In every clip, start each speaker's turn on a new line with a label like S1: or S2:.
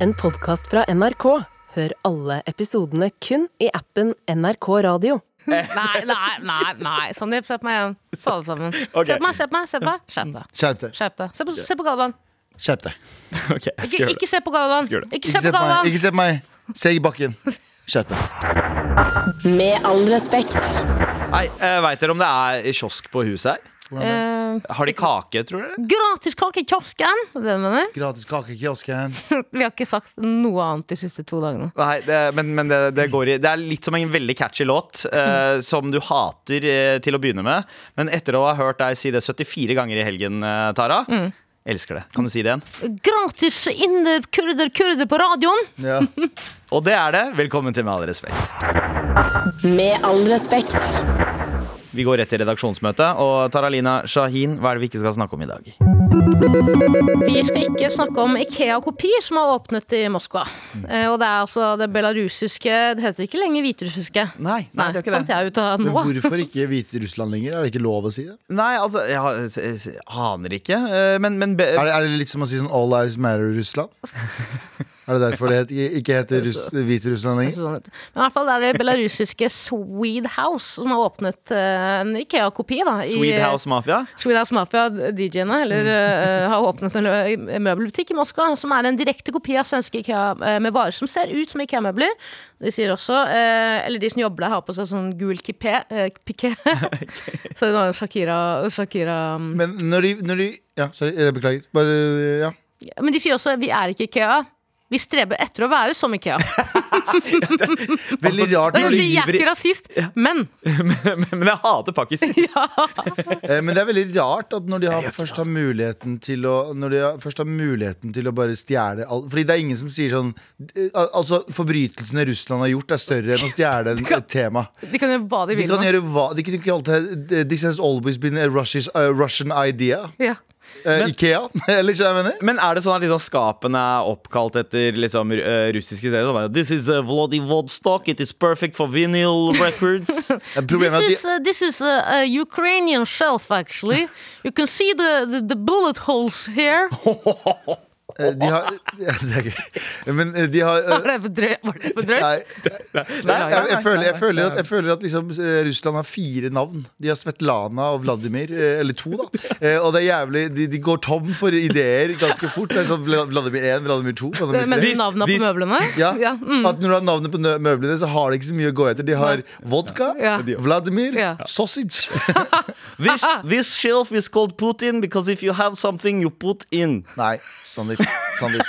S1: en podkast fra NRK. Hør alle episodene kun i appen NRK Radio.
S2: Nei, nei, nei. nei. Sandeep, se på meg igjen. Ta alle sammen.
S3: Ok.
S2: Se på meg, se på meg. Se på meg. Skjerp deg.
S4: Skjerp deg.
S2: Skjerp deg. Se på, se på Galvan.
S4: Skjerp deg.
S3: Ok, jeg skal
S2: Ikke,
S3: gjøre det.
S2: ikke se på Galvan.
S3: Skal gjøre det.
S2: Ikke
S4: Ikke
S2: se
S4: se
S2: på
S4: på meg.
S2: Galvan.
S4: Ikke se på meg. Se i bakken. Skjerp deg.
S1: Med all respekt.
S3: Nei, Veit dere om det er kiosk på huset her?
S2: Eh,
S3: Har de kake, tror dere?
S2: gratis kake i kiosken! er Det det du mener?
S4: Gratis kake i kiosken.
S2: Vi har ikke sagt noe annet de siste to dagene.
S3: Nei, det, men, men det, det går i Det er litt som en veldig catchy låt eh,
S2: Mm.
S3: som du hater eh, til å begynne med. Men etter å ha hørt deg si det 74 ganger i helgen, eh, Tara
S2: Mm.
S3: Elsker det. Kan du si det igjen?
S2: Gratis inder, kurder, kurder på radioen!
S4: Ja.
S3: Og det er det. Velkommen til Med all respekt.
S1: Med all respekt.
S3: Vi går rett til redaksjonsmøte. Og Taralina Shahin, hva er det vi ikke skal snakke om i dag?
S2: Vi skal ikke snakke om Ikea Kopi, som har åpnet i Moskva. Eh, og det er altså det belarusiske Det heter ikke lenger hviterussiske.
S3: Nei, nei, det er ikke
S2: fant
S3: det.
S2: jeg ut av
S4: Men
S2: nå.
S4: hvorfor ikke Hviterussland lenger? Er det ikke lov å si det?
S3: Nei, altså, jeg, har- jeg, jeg aner ikke. eh, Men, men be,
S4: Er det, er det litt som å si sånn All Lives Matter Russland? Er det derfor det het- ikke heter Russ, Hviterussland lenger?
S2: Sånn ut. Men i hvert fall det er det belarusiske Swede House som har åpnet eh, en Ikea-kopi. da i-
S3: Swede House Mafia?
S2: Swede House Mafia, DJ-ene, eller eh, har åpnet en lø- møbelbutikk i Moskva som er en direkte kopi av svenske Ikea eh, med varer som ser ut som Ikea-møbler. De sier også, eh, eller de som jobber der, har på seg sånn gul kipé, eh, piké. Så det var Shakira, Shakira mm.
S4: Men når de, når de Ja, sorry, jeg beklager. Bare, ja.
S2: Men de sier også vi er ikke Ikea. Vi streber etter å være som Ikea.
S4: Veldig rart.
S2: Jeg
S4: Når
S2: vil si,
S4: de,
S2: jeg Altså, er ikke rasist, men
S3: men, men jeg hater Pakistan.
S4: eh, men det er veldig rart at når de har, først har muligheten til å Når de har, først har muligheten til å bare stjele alt Fordi det er ingen som sier sånn eh, al- Altså, forbrytelsene Russland har gjort, er større enn å stjele en- et tema.
S2: de kan gjøre hva de
S4: De
S2: vil.
S4: kan
S2: med.
S4: gjøre hva De kan ikke alltid This has always been a Russish, a Russian idea.
S2: Ja.
S4: Eh, Ikea, eller hva jeg mener?
S3: Men er det sånn at liksom skapene er oppkalt etter liksom, ru- eh, russiske steder? Sånn, bare, This is uh, Vladivostok, it is perfect for vinyl records.
S4: Eh, Problemet er
S2: This
S4: at de
S2: is, uh, this is a, a Ukrainian shelf, actually. You can see the, the, the bullet holes here.
S4: Eh, De har ja, Det er gøy. Men eh, de har
S2: Var det
S4: eh,
S2: for drøyt? Var det for drøyt?
S4: Nei, jeg, jeg, jeg, føler, jeg, føler at, jeg føler at liksom eh, Russland har fire navn. De har Svetlana og Vladimir. eh, Eller to, da. Eh, Og det er jævlig De, de går tom for ideer ganske fort. Det er sånn Vla- Vladimir 1, Vladimir 2, Vladimir
S2: Mener du
S4: 3.
S3: This-
S2: navnene på
S3: this-
S2: møblene?
S4: Ja,
S2: mm.
S4: At når du har navnet på nø- møblene, så har de ikke så mye å gå etter. De har vodka,
S2: Ja.
S4: Vladimir,
S2: Ja.
S4: sausage.
S3: this, this shelf is called Putin because if you have something you put in.
S4: Nei, Sandeep. Sandeep.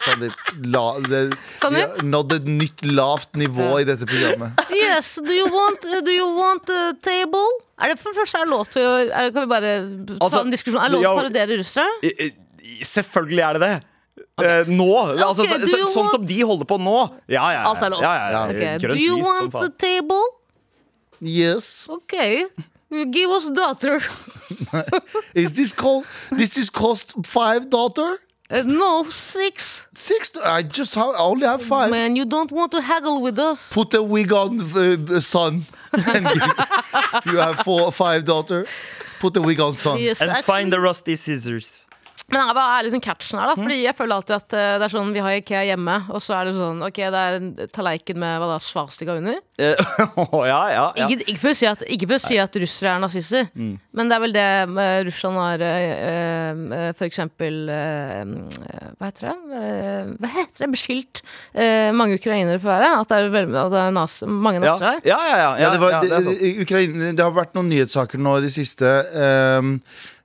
S4: Sandeep, la, det, vi
S2: Sandeep?
S4: har nådd et nytt lavt nivå i dette programmet.
S2: Yes, do you want, uh, do you want a table? Er det for det første er det lov til å er, Kan vi bare ta
S3: Altså,
S2: en diskusjon? Er det lov til å
S3: ja,
S2: parodiere russere?
S3: I- i- Selvfølgelig er det det. Eh, nå! altså, så,
S2: do
S3: så,
S2: you
S3: sånn
S2: want-
S3: som de holder på nå. Ja, ja, ja.
S2: Alt er lov.
S3: Ja, ja, ja.
S2: Ok,
S3: Grønt
S2: Do you
S3: lys som
S2: want a
S3: faen.
S2: table?
S4: Yes.
S2: Ok. You Give us daughter.
S4: Is this called This is cost five daughter?
S2: Uh, no, six.
S4: Six I just have, I only have five.
S2: Man, you don't want to haggle with us.
S4: Put a wig on uh, son. And give- if you have four, five daughter, put a wig on son.
S2: Yes,
S3: And
S2: actually-
S3: find the rusty scissors.
S2: Men hva er liksom catchen her, da?
S4: Mm.
S2: Fordi jeg føler alltid at eh, det er sånn, vi har Ikea hjemme, og så er det sånn, ok, det er en tallerken med hva da, svastika under.
S3: Eh, ja, ja, ja.
S2: Ikke, ikke, for å si at, ikke for å si at russere er nazister,
S4: Mm.
S2: men det er vel det eh, Russland har eh, eh, For eksempel eh, eh, Hva heter det? Eh, hva heter det? Beskyldt eh, mange ukrainere for å være. At det er, vel- at det er nas, mange
S3: Ja,
S2: nazister her.
S3: ja, ja, ja,
S4: ja, det, var,
S3: ja, det er sant.
S4: i- i Ukraina, det har vært noen nyhetssaker nå i det siste ehm,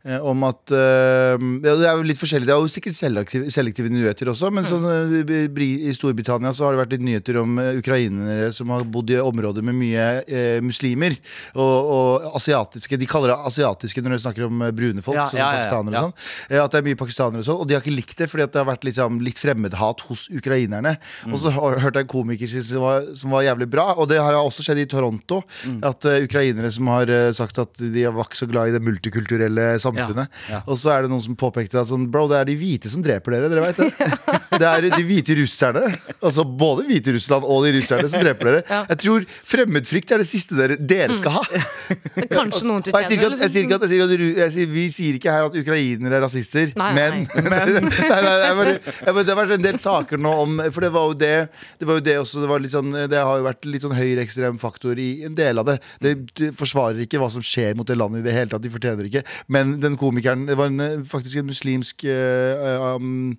S4: eh, om at ehm, ja, Det er jo litt forskjellig. Det er jo sikkert selektive, selektive nyheter også, men sånn, eh, i Bri- i Storbritannia så har det vært litt nyheter om eh, ukrainere som har bodd i områder med mye eh, muslimer. Og, og asiatiske. De kaller det asiatiske når de snakker om eh, brune folk,
S3: Ja,
S4: sånn som
S3: ja, ja, ja.
S4: pakistanere
S3: Ja.
S4: og sånn. Eh, At det er mye pakistanere og sånn. Og de har ikke likt det, fordi at det har vært liksom, litt fremmedhat hos ukrainerne.
S3: Mm.
S4: Og så har- hørte jeg en komiker si som var, som var jævlig bra, og det har også
S3: Mm.
S4: skjedd i Toronto. At eh, ukrainere som har eh, sagt at de var ikke så glad i det multikulturelle samfunnet.
S3: Ja. Ja.
S4: Og så er det noen som påpekte at sånn, bro, det er de hvite som dreper dere. Dere vet det. det er de hvite russerne. Altså både Hviterussland og de russerne som dreper dere.
S2: Ja.
S4: Jeg tror fremmedfrykt er det siste dere, dere skal ha.
S3: Mm.
S2: Men Kanskje noen liksom.
S4: Og jeg sier ikke
S2: fortjener
S4: at, jeg sier ikke at, jeg sier at ru- jeg sier, Vi sier ikke her at ukrainere er rasister,
S2: Nei,
S4: men, nei, nei, jeg bare, jeg bare, Det har vært en del saker nå om For det var jo det Det, var jo det, også, det, var litt sånn, det har jo vært litt sånn høyreekstrem faktor i en del av det. det. Det forsvarer ikke hva som skjer mot det landet i det hele tatt. De fortjener ikke. Men den komikeren Det var en, eh, faktisk en muslimsk uh, um,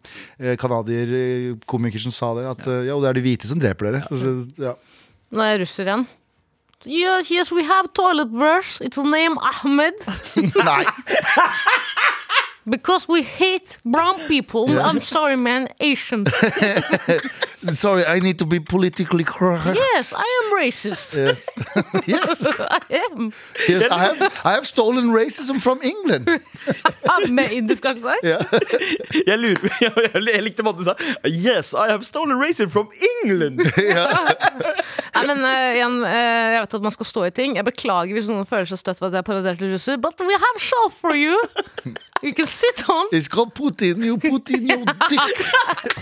S4: canadier-komiker eh, som sa det. At eh, ja, det er de hvite som dreper dere. Så, så, ja.
S2: Nå er jeg russer igjen. Yes, yes, we have toilet brush. It's named Ahmed.
S4: Nei!
S2: Because we hate brown people.
S4: Yeah.
S2: I'm sorry, man. Asians.
S4: Sorry, I need to be politically correct.
S2: Yes, I am racist.
S4: Yes. yes.
S2: I am.
S4: Yes, I have, I have stolen racism from England.
S2: Ah, Med indisk aksent?
S4: Ja.
S3: Jeg, lurer, jeg, jeg likte måten du sa Yes, I have stolen racing from England!
S2: Nei, men eh, igjen, eh, jeg vet at man skal stå i ting. Jeg beklager hvis noen føler seg støtt ved at jeg parodierte russer, but we have shelf for you! You can sit on.
S4: It's called Putin, you Putin, you dick.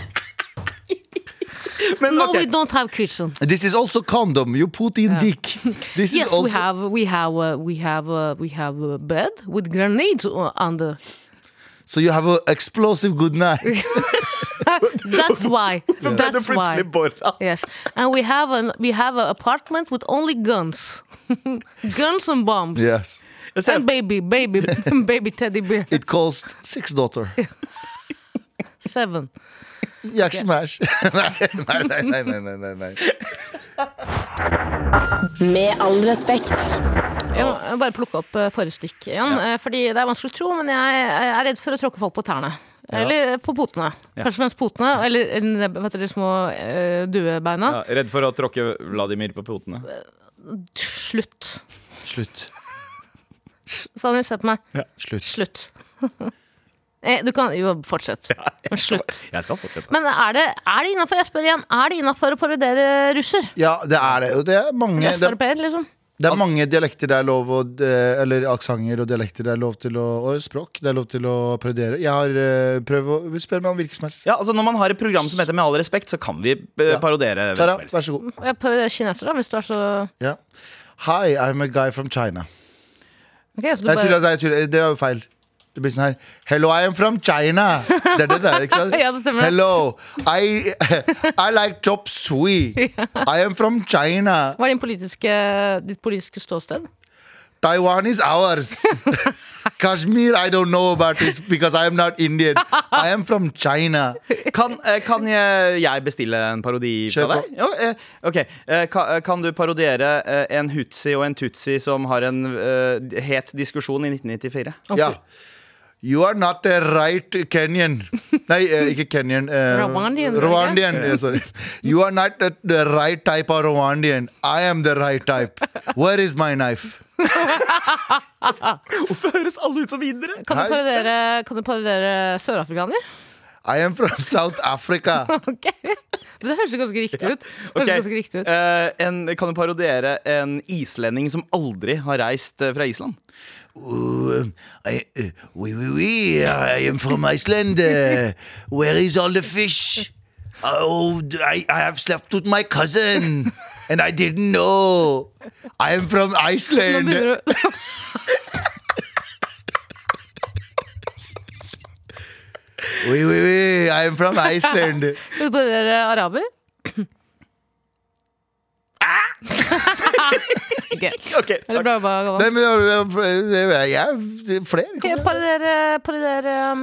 S3: Men
S2: No,
S3: ok,
S2: we don't have kitchen.
S4: This is also condom, you Putin dick. This
S2: Yes,
S4: is also
S2: we have we have uh, we have uh, we have a bed with grenades o- under.
S4: So you have an explosive good night.
S2: That's why.
S3: ble det
S2: That's why.
S3: plutselig Borat?
S2: Yes, and we have an we have an apartment with only guns, guns and bombs,
S4: Yes.
S3: Jeg ser-
S2: and baby, baby, baby teddy bear
S4: It costs six daughter.
S2: seven.
S4: Jeg smash. nei, nei, nei, nei, nei, nei, nei.
S1: Med all respekt.
S2: Jeg må jeg må bare plukke opp eh, forrige stikk igjen. eh, Fordi det er vanskelig å tro, men jeg jeg er redd for å tråkke folk på tærne. Eller eh, på potene. Først og fremst potene, eller eh, nebb- vet dere, de små eh, duebeina.
S3: Ja, redd for å tråkke Vladimir på potene.
S2: Slutt.
S4: Slutt.
S2: Sandeep, se på meg.
S4: Slutt.
S2: Slutt. Eh, du kan Jo, fortsett. Men slutt.
S3: Jeg skal fortsette.
S2: Men er det, er det innafor Jeg spør igjen, er det innafor å parodiere russer?
S4: Ja, det er det. Og det er mange det er,
S2: Østeuropeer, liksom?
S4: det er mange dialekter det er lov å Eller aksanger og dialekter det er lov til å Og språk det er lov til å parodiere. Jeg har eh, prøvd å Spør meg om hvilken som helst.
S3: Ja, altså Når man har et program som heter Med all respekt, så kan vi eh,
S4: Ja.
S3: parodiere hvem
S4: Tara,
S3: som helst.
S4: vær så god.
S2: Jeg parodiere kinesere, da, hvis du er så
S4: Ja. Hi, I'm a guy from China.
S2: Ok, så du
S4: Nei, jeg
S2: bare
S4: tuller, nei, jeg tuller. Det var jo feil. Det blir sånn her Hello, I am from China. Det er det der, ikke sant?
S2: Ja, det stemmer.
S4: Hello, I, I like chop sui. I am from China.
S2: Hva er din politiske, ditt politiske ståsted?
S4: Taiwan is ours. Kashmir, I don't know about this because I am not Indian. I am from China.
S3: Kan, eh, kan jeg, jeg bestille en parodi
S4: Kjør
S3: fra
S4: på.
S3: deg? Jo, eh, ok, Eh, ka- eh, Kan du parodiere eh, en hutsi og en tutsi som har en eh, het diskusjon i 1994?
S4: Ja. You are not a right Kenyan. Nei, eh, ikke Kenyan. eh,
S2: Rwandian, var det
S4: Rwandian, ja, sorry. You are not the- the right type of Rwandian. I am the right type. Where is my knife?
S3: Hvorfor høres alle ut som indere?
S2: Kan
S4: Hei.
S2: du parodiere, kan du parodiere sørafrikaner?
S4: I am from South Africa.
S2: Ok Men Det høres jo ganske riktig ut. Det høres
S3: Ok,
S2: ganske riktig ut.
S3: eh, en, kan du parodiere en islending som aldri har reist eh, fra Island?
S4: Ooh, I, uh, oui, oui, oui, I am from Iceland. Uh, where is all the fish? Oh, I, I have slept with my cousin, and I didn't know. I am from
S2: Nå
S4: Iceland.
S2: begynner du
S4: Oui, oui, oui, I am from Iceland.
S2: Kan du parodiere araber?
S4: Ah!
S2: Ok,
S3: Ok,
S2: Er det
S3: takk.
S2: bra jobba, Galvan?
S4: Nei, men jeg, jeg, jeg, jeg flere.
S2: Ok, Parodiere parodiere um,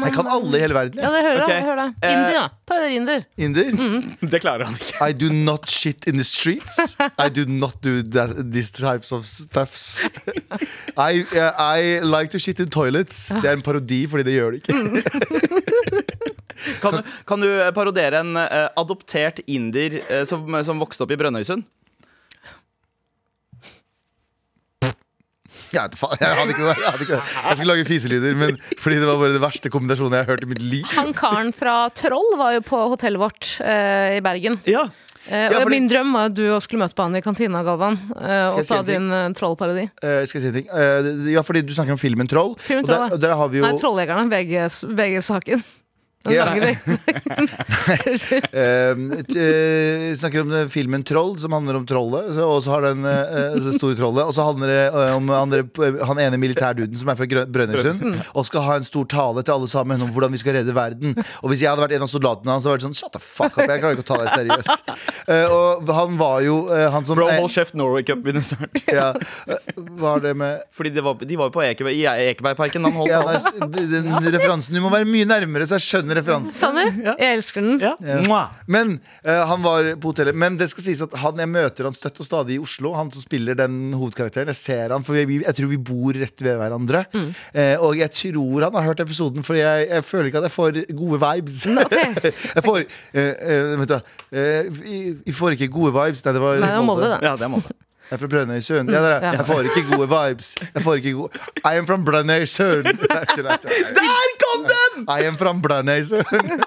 S4: Jeg kan alle i hele verden.
S2: Ja,
S4: jeg.
S2: det Mm. hører
S3: Ok,
S2: jeg. Hør det.
S3: eh,
S2: Indier, da. Parodier indier.
S4: Inder.
S3: Det klarer han ikke.
S4: I do not shit in the streets. I do not do that, these types of stuffs. I, uh, I like to shit in toilets. Det er en parodi, fordi det gjør det ikke.
S2: Mm.
S3: Kan du, kan du eh, parodiere en eh, adoptert inder eh, som, som vokste opp i Brønnøysund?
S4: Jeg, vet faen, jeg, hadde ikke det, jeg hadde ikke det. Jeg skulle lage fiselyder, men fordi det var bare den verste kombinasjonen jeg har hørt i mitt liv.
S2: Han karen fra Troll var jo på hotellet vårt eh, i Bergen.
S3: Ja
S2: Eh,
S4: Ja,
S2: og
S4: fordi-
S2: Min drøm var jo at du også skulle møte på han i kantina, Galvan, eh,
S4: Skal jeg
S2: og
S4: si
S2: ta
S4: en ting?
S2: din eh, trollparodi.
S4: Eh, skal jeg si en ting? Eh, ja, fordi du snakker om filmen Troll.
S2: Filmen
S4: og, der,
S2: Troll, ja.
S4: og der har vi jo
S2: Nei, Trolljegerne. VG's VG-saken. Den
S4: Ja.
S2: lange VG-saken.
S4: Eh, t- eh, snakker om eh, filmen Troll, som handler om trollet. så- Og så har den eh, eh, så store trollet Og så handler det eh, om han, der- han ene militærduden som er fra Grø- Brønnøysund, og skal ha en stor tale til alle sammen om hvordan vi skal redde verden. Og hvis jeg hadde vært en av soldatene hans, hadde jeg vært sånn Shut the fuck up, jeg klarer ikke å ta deg seriøst. Eh, og han var jo eh, han som
S3: Bro,
S4: eh,
S3: hold kjeft, Norway Cup begynner snart.
S4: ja, eh, Hva har det med
S3: Fordi det var, de var jo på Eke, i Ekebergparken. Han holdt
S4: ja,
S3: på.
S4: nei, s- den referansen Du må være mye nærmere, så jeg skjønner referansen.
S2: Sanner, jeg elsker den.
S3: Ja. Mwah.
S4: Men eh, han var på hotellet Men det skal sies at han, jeg møter han støtt og stadig i Oslo Han som spiller den hovedkarakteren Jeg ser han, for vi, jeg tror vi bor rett ved hverandre
S2: Mm.
S4: Eh, Og jeg tror han har hørt episoden For jeg, jeg føler ikke at jeg får gode vibes Jeg får eh, eh, Vent da eh, vi- Vi får ikke gode vibes Nei, det var
S2: Nei, det var Molde, det. Mm,
S3: Ja, det må det.
S4: Jeg er fra Brønnøysund ja, det er det.
S2: Ja.
S4: Jeg får ikke gode vibes Jeg får ikke gode I am from Brønnøysund Der kom den! I am from Brønnøysund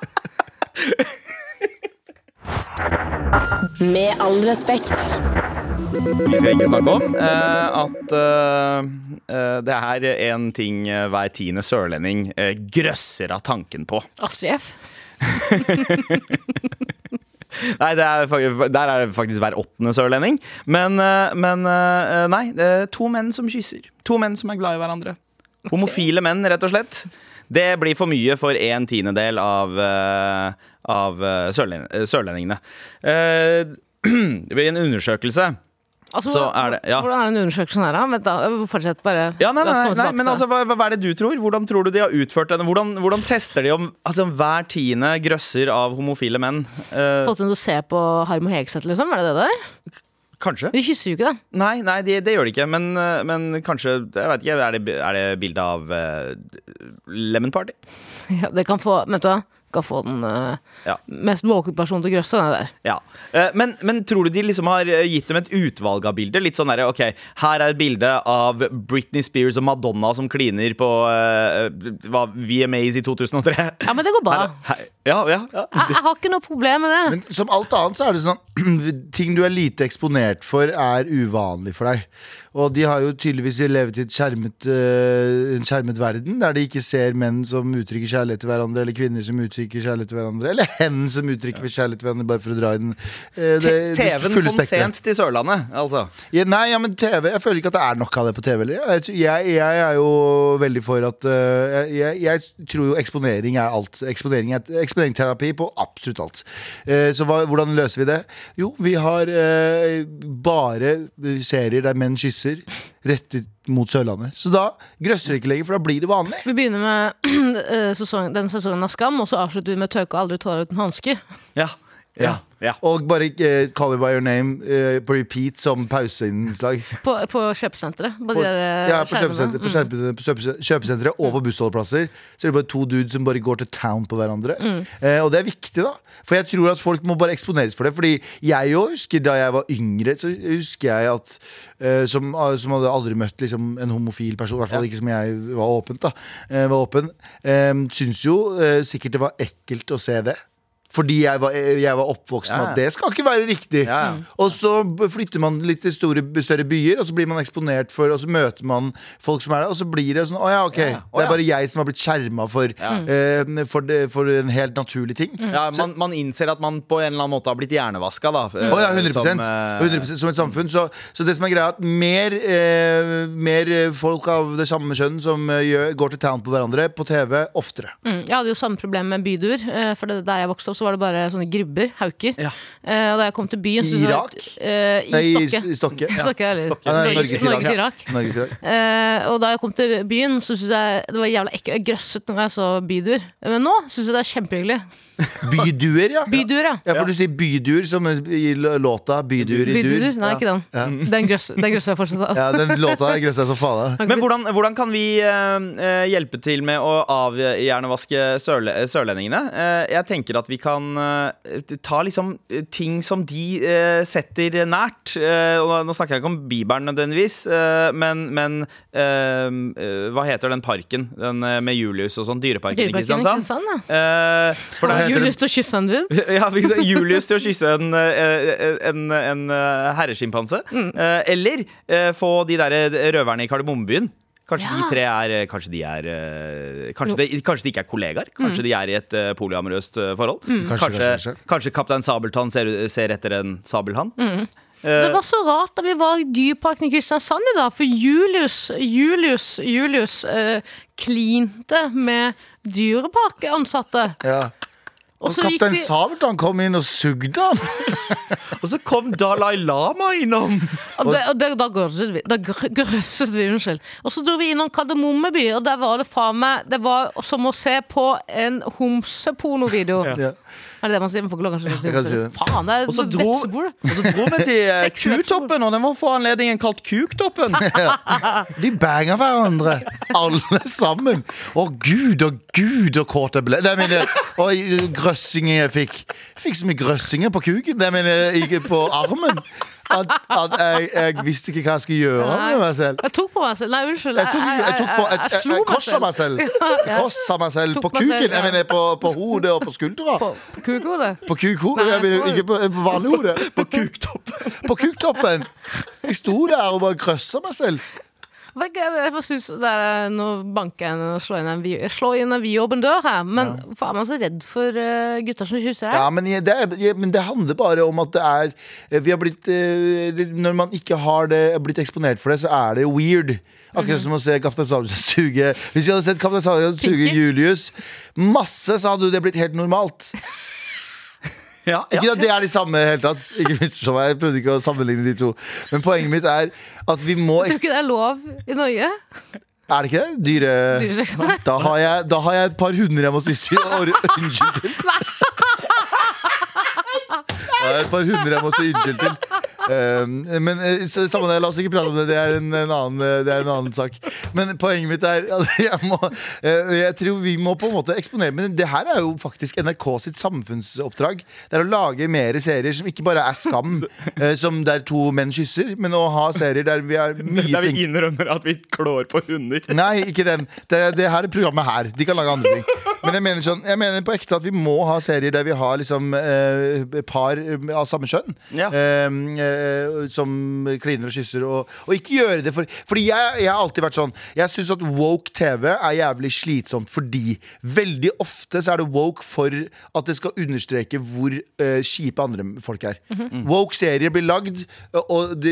S1: Med all respekt.
S3: Vi skal ikke snakke om eh, at eh, eh, det er en ting eh, hver tiende sørlending eh, grøsser av tanken på.
S2: Astrid F.
S3: Nei, det er, fak- der er det faktisk hver åttende sørlending. Men, eh, men eh, nei, det er to menn som kysser. To menn som er glad i hverandre. Homofile menn, rett og slett. Det blir for mye for en tiendedel av, eh, av eh, sørlen- eh, sørlendingene. Eh, det blir en undersøkelse.
S2: Altså,
S3: Så er det- ja.
S2: Hvordan er den undersøkelsen her, da? Vent da, Fortsett, bare.
S3: Ja, nei,
S2: La oss
S3: nei,
S2: komme
S3: nei, nei
S2: tilbake
S3: men
S2: til
S3: altså,
S2: det.
S3: hva, hva er det du tror? Hvordan tror du de har utført denne? Hvordan, hvordan tester de om altså, hver tiende grøsser av homofile menn? Eh,
S2: Fått henne til å se på Harm og Hegseth, liksom? Er det det der?
S3: kanskje?
S2: De kysser jo ikke, da.
S3: Nei, nei de, det gjør de ikke. Men, eh, men kanskje jeg vet ikke, Er det, er det bilde av eh, Lemon Party?
S2: Ja, det kan få, vet du, hva, kan få den eh,
S3: Ja.
S2: mest våkne personen til å grøsse, den der.
S3: Ja. Eh, Men, men tror du de liksom har eh, gitt dem et utvalg av bilder? Litt sånn derre OK, her er et bilde av Britney Spears og Madonna som kliner på eh, hva, VMAs i 2003.
S2: Ja, men det går bra.
S3: Her, her, ja, ja, ja.
S2: Jeg, jeg har ikke noe problem med det.
S4: Men som alt annet så er det sånn at ting du er lite eksponert for, er uvanlig for deg. Og de har jo tydeligvis levet i et skjermet, øh, en skjermet verden, der de ikke ser menn som uttrykker kjærlighet til hverandre, eller kvinner som uttrykker kjærlighet til hverandre, eller hen som uttrykker kjærlighet til hverandre, bare for å dra i den eh, det- det
S3: TV-en
S4: fulle
S3: kom
S4: spektret.
S3: sent til Sørlandet, altså.
S4: Ja, nei, ja, men TV, jeg føler ikke at det er nok av det på TV. Eller? Jeg, tror- jeg, jeg er jo veldig for at øh, jeg, jeg, jeg tror jo eksponering er alt. Eksponering er eksponeringsterapi på absolutt alt. Eh, så hva, hvordan løser vi det? Jo, vi har eh, bare serier der menn kysser rettet mot Sørlandet. Så da grøsser det ikke lenger, for da blir det vanlig.
S2: Vi begynner med eh, sesong, den sesongen av Skam, og så avslutter vi med Tørke aldri tårer uten hanske.
S3: Ja. Ja. ja.
S4: Og bare eh, Call You By Your Name eh, på repeat som pauseinnslag.
S2: På, på kjøpesenteret. På,
S4: På,
S2: de der, eh,
S4: ja, på
S2: skjermene.
S4: kjøpesenteret, på kjøpe- på kjøpe- kjøpesenteret og på bussholdeplasser Så er det bare to dudes som bare går til town på hverandre.
S2: Mm.
S4: Eh, og det er viktig, da. For jeg tror at folk må bare eksponeres for det. Fordi jeg jo husker da jeg var yngre, så husker jeg at eh, som, som hadde aldri møtt liksom, en homofil person, i hvert fall ikke som jeg var åpent, da. Eh, var åpen. Eh, syns jo eh, sikkert det var ekkelt å se det. Fordi jeg var, eh, jeg var oppvokst med
S3: Ja.
S4: at det skal ikke være riktig.
S3: Ja, ja.
S4: Og så b- flytter man litt til store, større byer, og så blir man eksponert for Og så møter man folk som er der, og så blir det sånn Å ja,
S3: Å
S4: ok. Det
S3: ja.
S4: er bare jeg som har blitt skjerma for, eh, for, det- for en helt naturlig ting.
S3: Ja, man, man innser at man på en eller annen måte har blitt hjernevaska, da. eh,
S4: Å ja, 100,
S3: som,
S4: som,
S3: eh,
S4: 100 som et samfunn. Så, så det som er greia, er at mer, eh, mer eh, folk av det samme kjønn som eh, gjør, går til town på hverandre på TV oftere.
S2: Mm, jeg hadde jo samme problem med bydur. eh, For det, der jeg vokste opp, så var det bare sånne gribber. Hauker.
S3: Ja.
S2: Eh, Og da jeg kom til byen
S4: I
S2: syntes jeg-
S4: Irak?
S2: eh,
S4: Nei,
S2: I Stokke.
S4: I Stokke. Ja.
S2: Stokke, eller
S3: Stokke.
S4: Ja, nei,
S2: Norges, Norges Irak.
S4: Ja. Norges Irak.
S2: Eh, og da jeg kom til byen, så syntes jeg det var jævla ekkelt. Jeg grøsset når jeg så bydur. Men nå syns jeg det er kjempehyggelig.
S4: Byduer, ja.
S2: Bydur, ja.
S4: Ja, for du sier bydur som i låta Bydur i
S2: Bydur.
S4: dur.
S2: Nei, ikke den. Den grøss- den grøsser jeg fortsatt av.
S4: Ja, den låta grøsser jeg som faen av.
S3: Men hvordan, hvordan kan vi eh, eh, hjelpe til med å avhjernevaske sørle, eh, sørlendingene? Eh, jeg tenker at vi kan eh, ta liksom eh, ting som de eh, setter nært. Eh, og nå snakker jeg ikke om Bibelen nødvendigvis, eh, men, men eh, eh, hva heter den parken den, eh, med Julius og sånn? Dyreparken,
S2: Dyreparken i
S3: i Kristiansand?
S2: Kristiansand, ja.
S3: Eh, for
S4: Hva
S3: det er
S2: Julius til å kysse en dude.
S3: Ja, vi sa Julius til å kysse en, eh, en, en eh, herreskimpanse.
S4: Mm.
S3: Eh, Eller eh, få de der eh, røverne i Kardemommebyen. Kanskje
S2: Ja.
S3: de tre er eh, Kanskje de er eh, Kanskje, de, kanskje de ikke er kollegaer? Kanskje de er i et eh, polyamorøst eh, forhold?
S4: Mm. Kanskje,
S3: Kanskje,
S4: kanskje, Mm.
S3: kanskje, kaptein Sabeltann ser, ser etter en sabeltann? Eh,
S2: Det var så rart da vi var i Dyreparken i Kristiansand i dag, for Julius, Julius, Julius eh, klinte med dyreparkansatte.
S4: Ja.
S2: Og
S4: Og
S2: så gikk
S4: kaptein
S2: vi-
S4: Sabelt han kom inn og sugde han.
S3: Og så kom Dalai Lama innom!
S2: Og, det, og det, da grøsset vi. Da grø- grøsset vi, unnskyld. Og så dro vi innom Kardemommeby, og der var det faen meg Det var som å se på en homsepornovideo.
S4: Ja.
S2: Er det det man sier? Man får ikke lov kanskje
S4: Jeg
S2: å
S4: kan si
S2: si det.
S4: det.
S2: Faen, det
S3: Og så
S2: er
S3: dro-
S2: vepsebol.
S3: Og så dro vi til eh,
S2: Seks vepsebol.
S3: Kutoppen, og den var for anledningen kalt Kuktoppen.
S4: De banger hverandre, alle sammen. Å gud, å gud, og kåt jeg ble. Det er mine og grøssinger jeg fikk. Jeg fikk så mye grøssinger på kuken. Det er mine ikke på armen. At, at jeg, jeg visste ikke hva jeg skulle gjøre med meg selv.
S2: Jeg tok på meg selv. Nei, unnskyld.
S4: Jeg tok, jeg tok på
S2: jeg-
S4: et,
S2: jeg slo meg
S4: kors av meg selv. Jeg Korsa meg selv
S2: Tok
S4: på
S2: meg selv,
S4: kuken.
S2: ja.
S4: Jeg mener på, på hodet og på skuldra.
S2: På, på kukhodet.
S4: På kukhodet.
S2: Nei,
S4: Jeg mener,
S2: så-
S4: Ikke på, på vanlig hode. På kuktoppen. På kuktoppen. Jeg sto der og bare krøssa meg selv.
S2: Hva er det- Jeg bare synes det er, eh, Nå banker jeg inn og slår inn en, vi- slår inn en vidåpen dør her, men faen, man er så redd for eh, gutter som kysser her.
S4: Ja, men jeg- det, er- jeg- men det handler bare om at det er Vi har blitt eh, Når man ikke har det, blitt eksponert for det, så er det weird. Akkurat som å se Kaptein Sabeltann suge Hvis vi hadde sett Kaptein Sabeltann suge
S2: Pinky.
S4: Julius masse, så hadde jo det blitt helt normalt.
S3: Ja, ja.
S4: Ikke at det er de samme i det hele tatt. Ikke misforstå meg, jeg prøvde ikke å sammenligne de to. Men poenget mitt er at vi må
S2: Tror du
S4: eks-
S2: ikke det er lov i Norge?
S4: Er det ikke det? Dyre...
S2: Dyresex?
S4: Da har, jeg, da har jeg et par hunder jeg må syssy og unnskyld til. Da har jeg et par hunder jeg må si unnskyld til. Um, men eh, s- samme det, la oss ikke prate om det. Det er en, en, annen, eh, det er en annen sak. Men poenget mitt er at jeg, må, eh, jeg tror vi må på en måte eksponere Men det her er jo faktisk NRK sitt samfunnsoppdrag. Det er å lage mer serier som ikke bare er Skam, eh, som der to menn kysser, men å ha serier der vi er mye
S3: Der
S4: flinkere.
S3: vi innrømmer at vi klår på hunder.
S4: Nei, ikke den. Det, det her er programmet her. De kan lage andre ting. Men jeg mener, sånn, jeg mener på ekte at vi må ha serier der vi har liksom eh, par av samme kjønn.
S3: Ja.
S4: Eh, eh, som kliner og kysser. Og, og ikke gjøre det for Fordi jeg, jeg har alltid vært sånn Jeg syns at woke TV er jævlig slitsomt fordi veldig ofte så er det woke for at det skal understreke hvor eh, kjipe andre folk er.
S3: Mhm.
S4: Woke serier blir lagd, og de,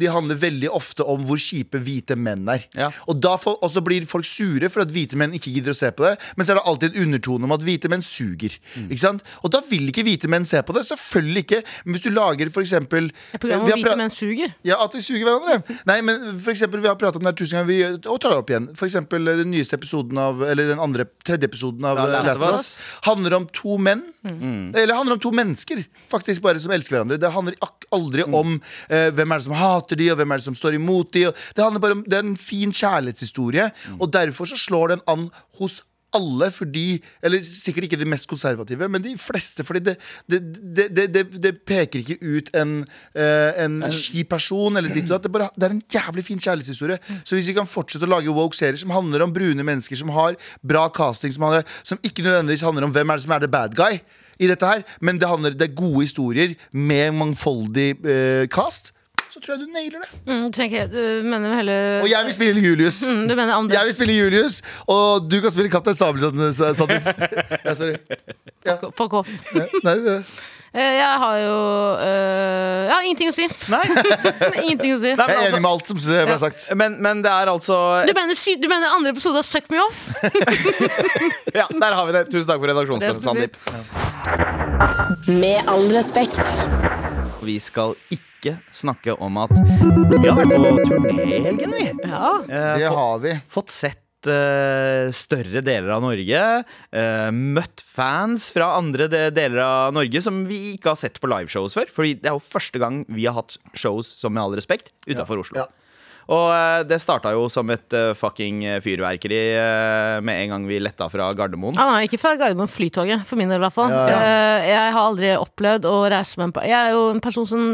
S4: de handler veldig ofte om hvor kjipe hvite menn er.
S3: Ja.
S4: Og, da får, og så blir folk sure for at hvite menn ikke gidder å se på det. Men så er det alltid en undertone om at hvite menn suger.
S2: Mm.
S4: Ikke sant? Og da vil ikke hvite menn se på det. Selvfølgelig ikke. Men hvis du lager for eksempel Eh,
S2: Et program om
S4: Vi har
S2: hvite
S4: pra-
S2: menn suger.
S4: ja, at de suger hverandre. Nei, men for eksempel, Vi har pratet om det her tusen ganger, vi, gjør- og tar det opp igjen. For eksempel, eh, den nyeste episoden av Eller den andre, tredje episoden av
S3: Ja,
S4: eh, Last of Us Mm. handler om to menn. Eller handler om to mennesker Faktisk bare som elsker hverandre. Det handler ak aldri om eh, hvem er det som hater de, og hvem er det som står imot de. og Det handler bare om det er en fin kjærlighetshistorie, og derfor så slår den an hos alle fordi Eller sikkert ikke de mest konservative, men de fleste. Fordi det, det, det, det, det, det peker ikke ut en, eh, en kjip person. Eller ditt, og datt. det, bare, det er en jævlig fin kjærlighetshistorie. Så hvis vi kan fortsette å lage woke serier som handler om brune mennesker som har bra casting, som, handler, som ikke nødvendigvis handler om hvem er det som er the bad guy i dette her, men det handler det er gode historier med mangfoldig eh, cast, så tror jeg du nailer det.
S2: Mm, du tenker, du mener vel heller
S4: Og jeg vil spille Julius.
S2: Mm, Du mener Anders
S4: Jeg vil spille Julius, og du kan spille Kaptein Sabeltann. eh, sa- sa du. Ja, sorry.
S2: Fuck off.
S4: Ja, Nei, det-
S2: Eh, Jeg har jo eh, Jeg har ingenting å si.
S3: Nei, nei
S2: ingenting å si.
S3: men,
S4: Jeg er enig
S3: altså,
S4: med alt som ble sagt.
S3: men, men det er altså
S2: Du mener, sy- du mener andre episode av Suck Me Off?
S3: Ja, der har vi det. Tusen takk for
S2: Det
S3: redaksjonsplassen,
S2: skal jeg
S3: Sandeep.
S1: Med all respekt.
S3: Vi skal ikke snakke om at vi har vært på turné i helgen, vi.
S2: Ja.
S4: Det
S3: Eh, fått,
S4: har vi.
S3: fått sett eh, større deler av Norge. Eh, møtt fans fra andre de deler av Norge som vi ikke har sett på liveshows før. Fordi det er jo første gang vi har hatt shows, som med all respekt, utafor Oslo.
S4: Ja.
S3: Og eh, det starta jo som et eh, fucking fyrverkeri eh, med en gang vi letta fra Gardermoen.
S2: Ah, nei, ikke fra Gardermoen, Flytoget, for min del i hvert fall.
S4: Ja, ja.
S2: Eh, jeg har aldri opplevd å reise med en pa- Jeg er jo en person som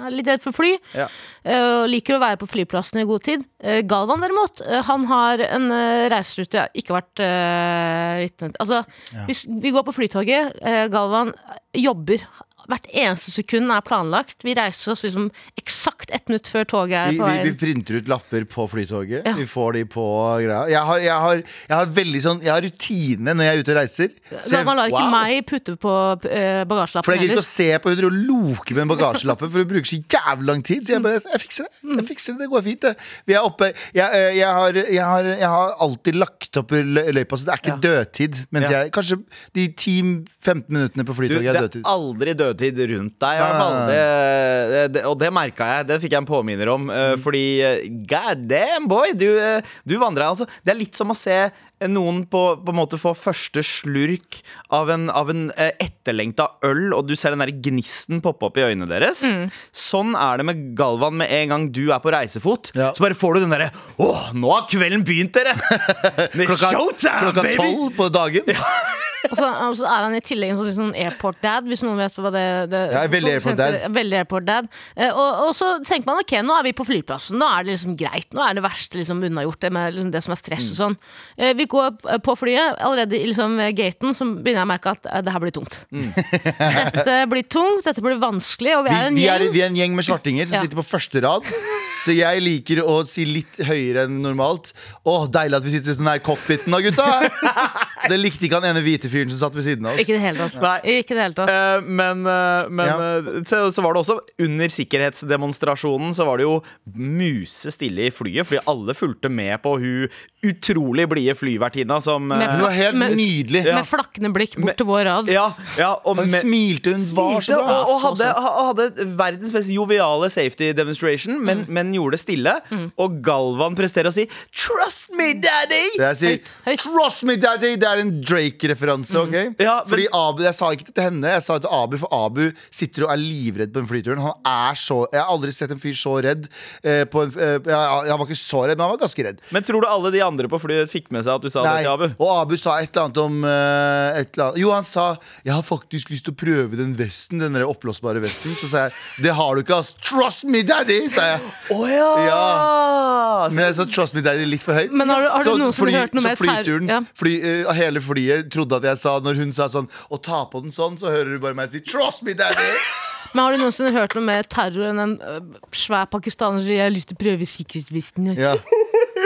S2: er litt redd for fly.
S3: Ja.
S2: eh, og liker å være på flyplassen i god tid. Eh, Galvan derimot, eh, han har en eh, reiserute jeg ikke har vært eh, vitne til. Altså, hvis vi går på Flytoget, eh, Galvan jobber. Hvert eneste sekund er planlagt. Vi reiser oss liksom eksakt ett minutt før toget
S4: Vi,
S2: er på
S4: vi, vi
S2: veien.
S4: printer ut lapper på Flytoget.
S2: Ja.
S4: Vi får de på greia. Jeg har, jeg, har, jeg, har veldig sånn, jeg har rutine når jeg er ute og reiser. Så jeg,
S2: Galvan lar ikke
S3: Wow.
S2: meg putte på eh,
S4: for
S2: bagasjelappen
S4: jeg gidder ikke
S2: heller.
S4: å se på hundre og loke med en bagasjelappe, for det bruker så jævlig lang tid. Så jeg bare Jeg fikser det. Jeg fikser Det det går fint, det. Vi er oppe Jeg, eh, jeg, har, jeg, har, jeg har alltid lagt opp i lø- løypa, så det er ikke dødtid. Mens
S3: Ja.
S4: jeg Kanskje de 10-15 minuttene på
S3: Du,
S4: Flytoget
S3: det
S4: er
S3: er
S4: dødtid.
S3: aldri dødtid rundt deg, i
S4: Nei,
S3: hvert fall.
S4: nei, Mm. nei.
S3: Det, det, og det merka jeg. Det fikk jeg en påminner om. eh, Fordi eh, god damn, boy! Du, eh, du vandra. Altså, det er litt som å se noen på, på en måte få første slurk av en, av en eh, etterlengta øl, og du ser den der gnisten poppe opp i øynene deres. Sånn er det med Galvan med en gang du er på reisefot.
S4: Ja.
S3: Så bare får du den derre Åh, nå har kvelden begynt, dere! Det er showtime,
S4: klokka
S3: baby!
S4: tolv på dagen.
S2: Og så, og så er han i tillegg en sånn liksom airport-dad, hvis noen vet hva det, det
S4: Jeg er veldig airport-dad.
S2: Veldig airport-dad. Eh, og, og så tenker man ok, nå er vi på flyplassen, nå er det liksom greit. Nå er det verste liksom unnagjort, det, med, liksom, det som er stress
S4: Mm.
S2: og sånn. Eh, vi går eh, på flyet, allerede i liksom, ved gaten så begynner jeg å merke at eh, det her blir tungt. dette blir tungt, dette blir vanskelig, og vi
S4: Mm. Vi,
S2: er en gjeng.
S4: vi, er, vi er en gjeng med svartinger som
S2: Ja.
S4: sitter på første rad. Så jeg liker å si litt høyere enn normalt. Å, deilig at vi sitter så nær cockpiten da, gutta! Det likte ikke han ene hvite fyren som satt ved siden av oss.
S2: Ikke i det hele tatt.
S3: Nei.
S2: Ikke i det hele tatt.
S3: Eh, men eh, men
S4: Ja.
S3: eh, så, så var det også under sikkerhetsdemonstrasjonen så var det jo musestille i flyet, fordi alle fulgte med på hun utrolig blide flyvertinna som eh,
S4: Hun var helt
S2: Men-
S4: nydelig.
S2: Med flakkende blikk bort til vår rad.
S3: ja, ja, og
S4: Hun
S3: med-
S4: smilte, hun var
S3: smilte
S4: så bra.
S3: og, og
S2: Så
S3: hadde, ha- hadde verdens mest joviale safety demonstration, men, men gjorde det stille. Og Galvan presterer å si 'Trust me, daddy'!
S4: Jeg sier,
S2: Høyt, høyt.
S4: Trust me, daddy! Det er en Drake-referanse. ok?
S3: Mm. Ja, men-
S4: Fordi Abu, Jeg sa ikke det til henne, jeg sa det til Abu, for Abu sitter og er livredd på den flyturen. Han er så, Jeg har aldri sett en fyr så redd. Eh, på en, eh, ja, han var ikke så redd, men han var ganske redd.
S3: Men tror du alle de andre på flyet fikk med seg at du sa det til Abu?
S4: Og Abu sa et eller annet om eh, et eller annet. Jo, han sa 'Jeg har faktisk lyst til å prøve den vesten, den der oppblåsbare vesten'. Så sa jeg 'Det har du ikke, ass'. 'Trust me, daddy', sa jeg.
S3: Å ja!
S4: Ja.
S3: Så
S4: Men jeg sa 'trust me, daddy' litt for høyt.
S2: Altså, Men har du- har du
S4: så
S2: noen som har hørt noe
S4: så
S2: mer terror-
S4: flyturen
S2: Ja.
S4: fly, eh, Hele flyet trodde at jeg sa Når hun sa sånn 'Å ta på den sånn', så hører du bare meg si 'Trust me, daddy'.
S2: Men har du noensinne hørt noe mer terror enn en øh, svær pakistaner som sier 'jeg har lyst til å prøve sikkerhetsvesten'? ass.
S4: Ja.